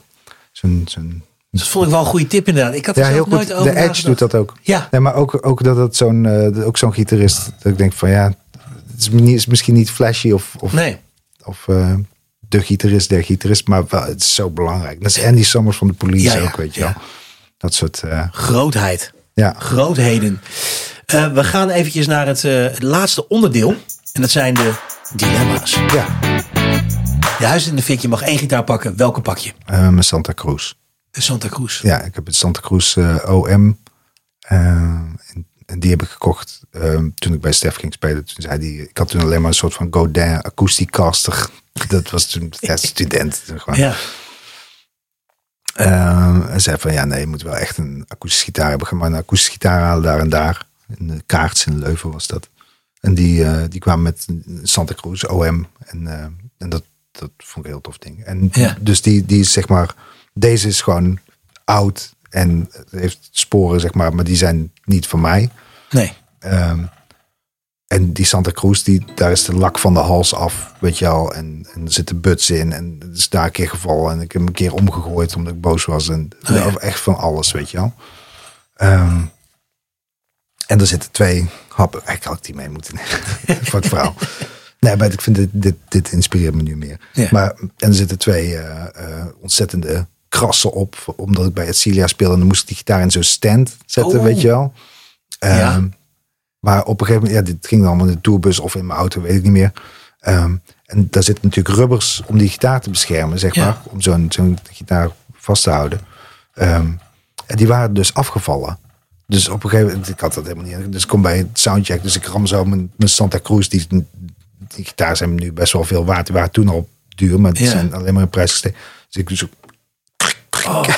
zo'n... zo'n
Dus dat vond ik wel een goede tip inderdaad. Ik had er
ja, heel
zelf
goed.
nooit over
De Edge doet
nagedacht.
dat ook.
Ja.
Nee, maar ook, ook dat het zo'n, eh, ook zo'n gitarist, dat ik denk van ja, het is, niet- is misschien niet flashy of, of,
Nee.
of eh, de gitarist der gitarist, maar wel, het is zo belangrijk. Dat is Andy Summers van de Police
Ja, ja,
ook, weet je
ja.
wel. Dat soort, eh,
Grootheid.
ja.
Grootheden. Eh, we gaan eventjes naar het, eh, het laatste onderdeel. En dat zijn de dilemma's.
ja.
Je huis in de fik. Je mag één gitaar pakken. Welke pak je?
Eh, mijn Santa Cruz.
De Santa Cruz.
Ja, ik heb het Santa Cruz eh, OM. eh, en, en die heb ik gekocht eh, toen ik bij Stef ging spelen. Toen zei die, ik had toen alleen maar een soort van Godin Acousticaster. Dat was toen ja, student. Gewoon.
Ja.
Eh, en zei van ja, nee, je moet wel echt een akoestische gitaar hebben. Ga maar een akoestische gitaar halen daar en daar. In de kaarts in Leuven was dat. En die, eh, die kwamen met een Santa Cruz OM. En, eh, en dat, dat vond ik een heel tof ding. En
Ja.
dus die, die is zeg maar, deze is gewoon oud en heeft sporen, zeg maar, maar die zijn niet van mij.
Nee.
Ehm, en die Santa Cruz, die, daar is de lak van de hals af, weet je al. En, en er zitten buts in. En het is daar een keer gevallen. En ik heb hem een keer omgegooid omdat ik boos was. En
Oh ja.
nou, echt van alles, weet je al. Ehm, en er zitten twee happen. Eigenlijk had ik die mee moeten nemen. Voor het verhaal. Nee, maar ik vind dit, dit, dit inspireert me nu meer.
Ja.
Maar, en er zitten twee eh, eh, ontzettende krassen op. Omdat ik bij Etcilia speelde. En dan moest ik die gitaar in zo'n stand zetten,
Oh.
weet je wel.
Ja.
Ehm, Maar op een gegeven moment, ja, dit ging dan in de tourbus of in mijn auto, weet ik niet meer. Ehm, en daar zitten natuurlijk rubbers om die gitaar te beschermen, zeg
Ja.
maar. Om zo'n zo'n gitaar vast te houden. Ehm, en die waren dus afgevallen. Dus op een gegeven moment, ik had dat helemaal niet. Dus ik kom bij het soundcheck, dus ik ram zo mijn, mijn Santa Cruz. Die, die gitaars zijn nu best wel veel waard. Die waren toen al duur, maar die
Ja.
zijn alleen maar in prijs gestegen. Dus ik doe zo
Oh.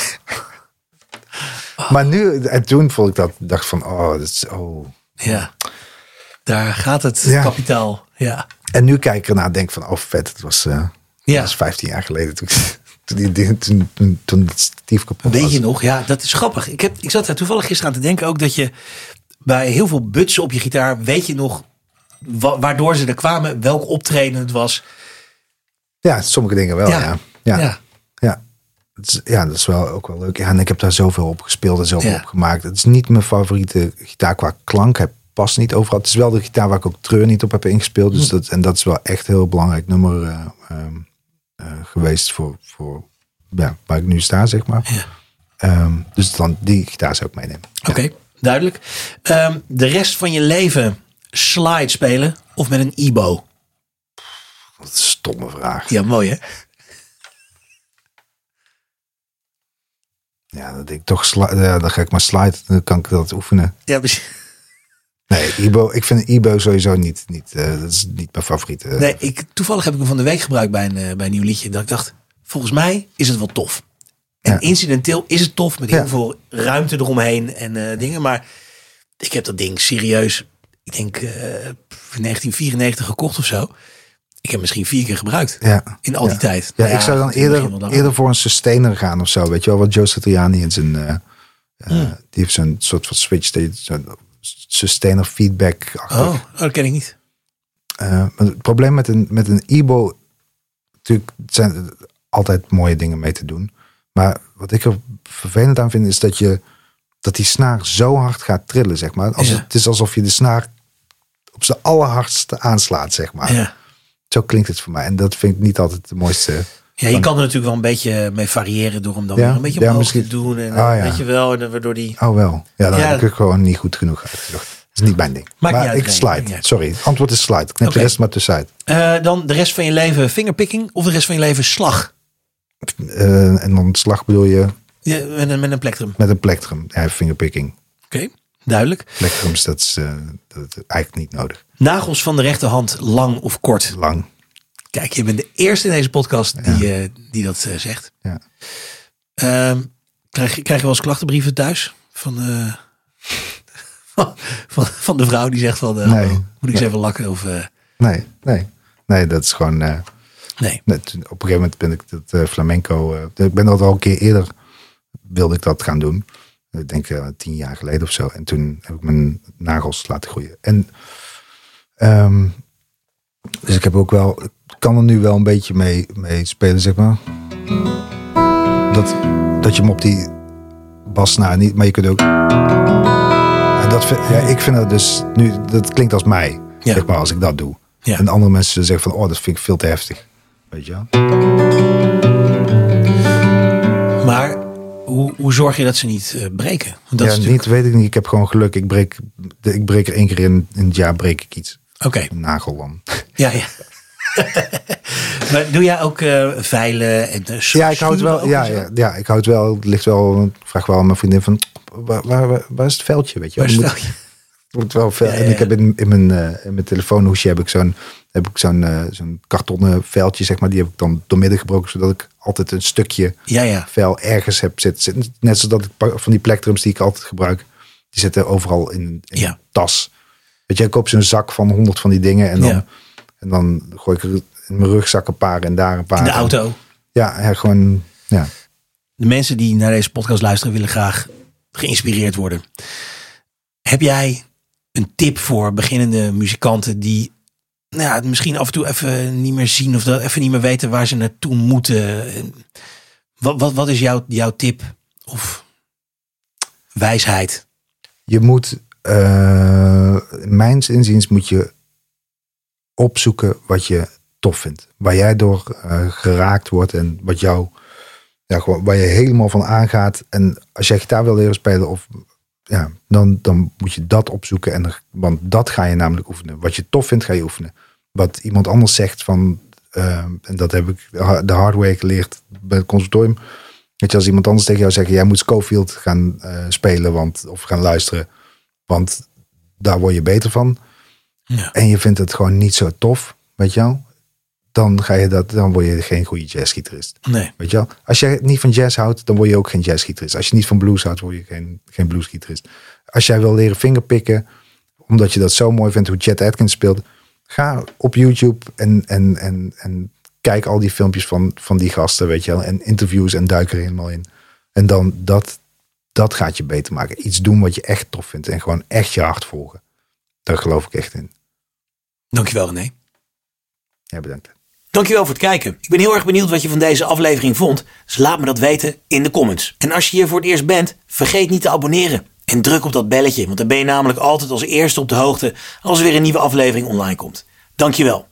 Maar nu, en toen vond ik dat, dacht van, oh, dat is, oh.
Ja. Daar gaat het
Ja.
kapitaal. Ja.
En nu kijk ik ernaar en denk van, oh vet, het was, eh,
Ja.
dat was 15 jaar geleden toen, toen, die dingen- toen, toen, toen dat stief kapot
Weet
was.
je nog? Ja, dat is grappig. Ik, heb, ik zat daar toevallig gisteren aan te denken ook dat je bij heel veel butsen op je gitaar weet je nog wa- waardoor ze er kwamen, welk optreden het was.
Ja, sommige dingen wel, ja. Ja, ja.
ja.
Het is- ja, dat is wel ook wel leuk. Ja, en ik heb daar zoveel op gespeeld en zoveel
Ja.
op gemaakt. Het is niet mijn favoriete gitaar qua klank. Hij past niet overal. Het is wel de gitaar waar ik ook Treur niet op heb ingespeeld.
Hm.
Dus dat, en dat is wel echt een heel belangrijk nummer eh, ehm, eh, geweest voor, voor ja, waar ik nu sta, zeg maar.
Ja.
Ehm, dus dan die gitaar zou ik meenemen.
Oké, duidelijk. Ehm, de rest van je leven slide spelen of met een Ibo?
Wat een stomme vraag.
Ja, mooi hè?
Ja, dat denk ik toch. sli- ja, dan ga ik maar slide. Dan kan ik dat oefenen.
Ja, precies.
Nee, Ibo, ik vind Ibo sowieso niet. niet eh, dat is niet mijn favoriete.
Nee, ik, toevallig heb ik hem van de week gebruikt bij een, eh, bij een nieuw liedje. Dat ik dacht, volgens mij is het wel tof. En
Ja.
incidenteel is het tof met heel
Ja.
veel ruimte eromheen en eh, dingen. Maar ik heb dat ding serieus, ik denk eh, pff, in 1994 gekocht of zo. Ik heb misschien vier keer gebruikt
Ja.
in al die tijd.
Ja,
Nou
ik zou dan
het is misschien wel
eerder,
daarom.
eerder voor een sustainer gaan of zo. Weet je wel, wat Joe Satriani in zijn... eh, eh,
Hmm.
Die heeft zo'n soort van switch, die- zo'n sustainer feedback.
Oh, oh, dat ken ik niet.
Eh, het probleem met een, met een Ibo... Natuurlijk zijn er altijd mooie dingen mee te doen. Maar wat ik er vervelend aan vind, is dat je... Dat die snaar zo hard gaat trillen, zeg maar. Als
Ja.
het, is alsof je de snaar op zijn allerhardste aanslaat, zeg maar.
Ja.
Zo klinkt het voor mij. En dat vind ik niet altijd de mooiste...
Ja, je kan er natuurlijk wel een beetje mee variëren door hem dan
Ja,
weer een beetje
ja,
omhoog
misschien-
te doen. En,
Ah, ja.
Weet je wel, en dan waardoor die...
Oh wel. Ja, dan
Ja.
heb ik er gewoon niet goed genoeg uitgezocht. Dat is niet mijn ding.
Maakt
maar
niet uit,
ik
nee, maakt niet
slide.
uit.
Sorry, het antwoord is slide. Knip
Oké.
de rest maar tussenuit.
Eh, dan de rest van je leven vingerpicking of de rest van je leven slag?
Eh, en dan slag bedoel je
Ja, met, een, met een plektrum.
met een plectrum. Ja, fingerpicking.
Oké, duidelijk.
Plectrums, dat is, eh, dat is eigenlijk niet nodig.
Nagels van de rechterhand, lang of kort?
Lang.
Kijk, je bent de eerste in deze podcast die, eh, die dat eh, zegt.
Ja.
Ehm, krijg, je- krijg je wel eens klachtenbrieven thuis? Van, eh, van, van, van de vrouw die zegt van, eh,
Nee.
hallo, moet ik eens even lakken? Of, eh,
Nee, nee. Nee, dat is gewoon... eh,
nee,
net- op een gegeven moment ben ik dat eh, flamenco... eh, ik ben dat al een keer eerder... wilde ik dat gaan doen. Ik denk eh, tien jaar geleden of zo. En toen heb ik mijn nagels laten groeien. En Ehm, dus ik heb ook wel, ik kan er nu wel een beetje mee, mee spelen, zeg maar. Dat, dat je hem op die basnaar niet, maar je kunt ook. En dat vind- ja, ik vind dat dus nu, dat klinkt als mij,
Ja.
zeg maar, als ik dat doe.
Ja.
En andere mensen zeggen van, oh, dat vind ik veel te heftig. Weet je wel?
maar hoe, hoe zorg je dat ze niet eh, breken? Want dat
ja,
is natuurlijk...
niet, weet ik niet. Ik heb gewoon geluk. Ik breek, ik breek er één keer in, in het jaar breek ik iets.
Oké,
Een nagel dan.
ja, ja. maar doe jij ook eh, veilen en eh,
Ja, ik hou het wel.
schuren
Ja,
ook en zo?
ja, ja, ik hou het wel. Het ligt wel. Ik vraag wel aan mijn vriendin van. Waar, waar, waar- waar is het veldje? Weet je,
Maar
wel? Er
stel
moet,
je-
er moet wel veel.
Ja, ja,
En ik
ja.
heb in, in, mijn, eh, in mijn telefoonhoesje heb ik zo'n heb ik zo'n eh, zo'n kartonnen veldje zeg maar. Die heb ik dan doormidden gebroken zodat ik altijd een stukje
Ja, ja.
vel ergens heb zitten. Zit- Net zodat ik pa- van die plektrums die ik altijd gebruik, die zitten overal in, in
Ja.
een tas. Weet je, ik koop zo'n zak van honderd van die dingen en dan
Ja.
en dan gooi ik er in mijn rugzak een paar en daar een paar.
In de
En-
auto.
Ja, ja gewoon. Ja.
De mensen die naar deze podcast luisteren willen graag geïnspireerd worden. Heb jij een tip voor beginnende muzikanten die nou ja, het misschien af en toe even niet meer zien of dat even niet meer weten waar ze naartoe moeten? Wat, wat, wat is jouw, jouw tip of wijsheid?
Je moet, eh mijns inziens, moet je opzoeken wat je tof vindt. Waar jij door eh, geraakt wordt en wat jou, ja, gewoon, waar je helemaal van aangaat. En als jij gitaar wil leren spelen, of, ja, dan, dan moet je dat opzoeken. En, er- want dat ga je namelijk oefenen. Wat je tof vindt, ga je oefenen. Wat iemand anders zegt van, eh, en dat heb ik de hard way geleerd bij het conservatorium. Weet je, als iemand anders tegen jou zegt, jij moet Schofield gaan eh, spelen want, of gaan luisteren, want daar word je beter van.
Ja.
En je vindt het gewoon niet zo tof, weet je wel. dan, ga je dat, dan word je geen goede jazzgitarist.
Nee.
Weet je wel? Als je niet van jazz houdt, dan word je ook geen jazzgitarist. Als je niet van blues houdt, word je geen, geen bluesgitarist. Als jij wil leren vingerpikken, omdat je dat zo mooi vindt hoe Chet Atkins speelt, ga op YouTube en, en, en, en kijk al die filmpjes van, van die gasten, weet je wel, en interviews en duik er helemaal in. En dan dat, dat gaat je beter maken. Iets doen wat je echt tof vindt en gewoon echt je hart volgen. Daar geloof ik echt in.
Dankjewel René.
Ja, bedankt.
Dankjewel voor het kijken. Ik ben heel erg benieuwd wat je van deze aflevering vond. Dus laat me dat weten in de comments. En als je hier voor het eerst bent, vergeet niet te abonneren. En druk op dat belletje, want dan ben je namelijk altijd als eerste op de hoogte als er weer een nieuwe aflevering online komt. Dankjewel.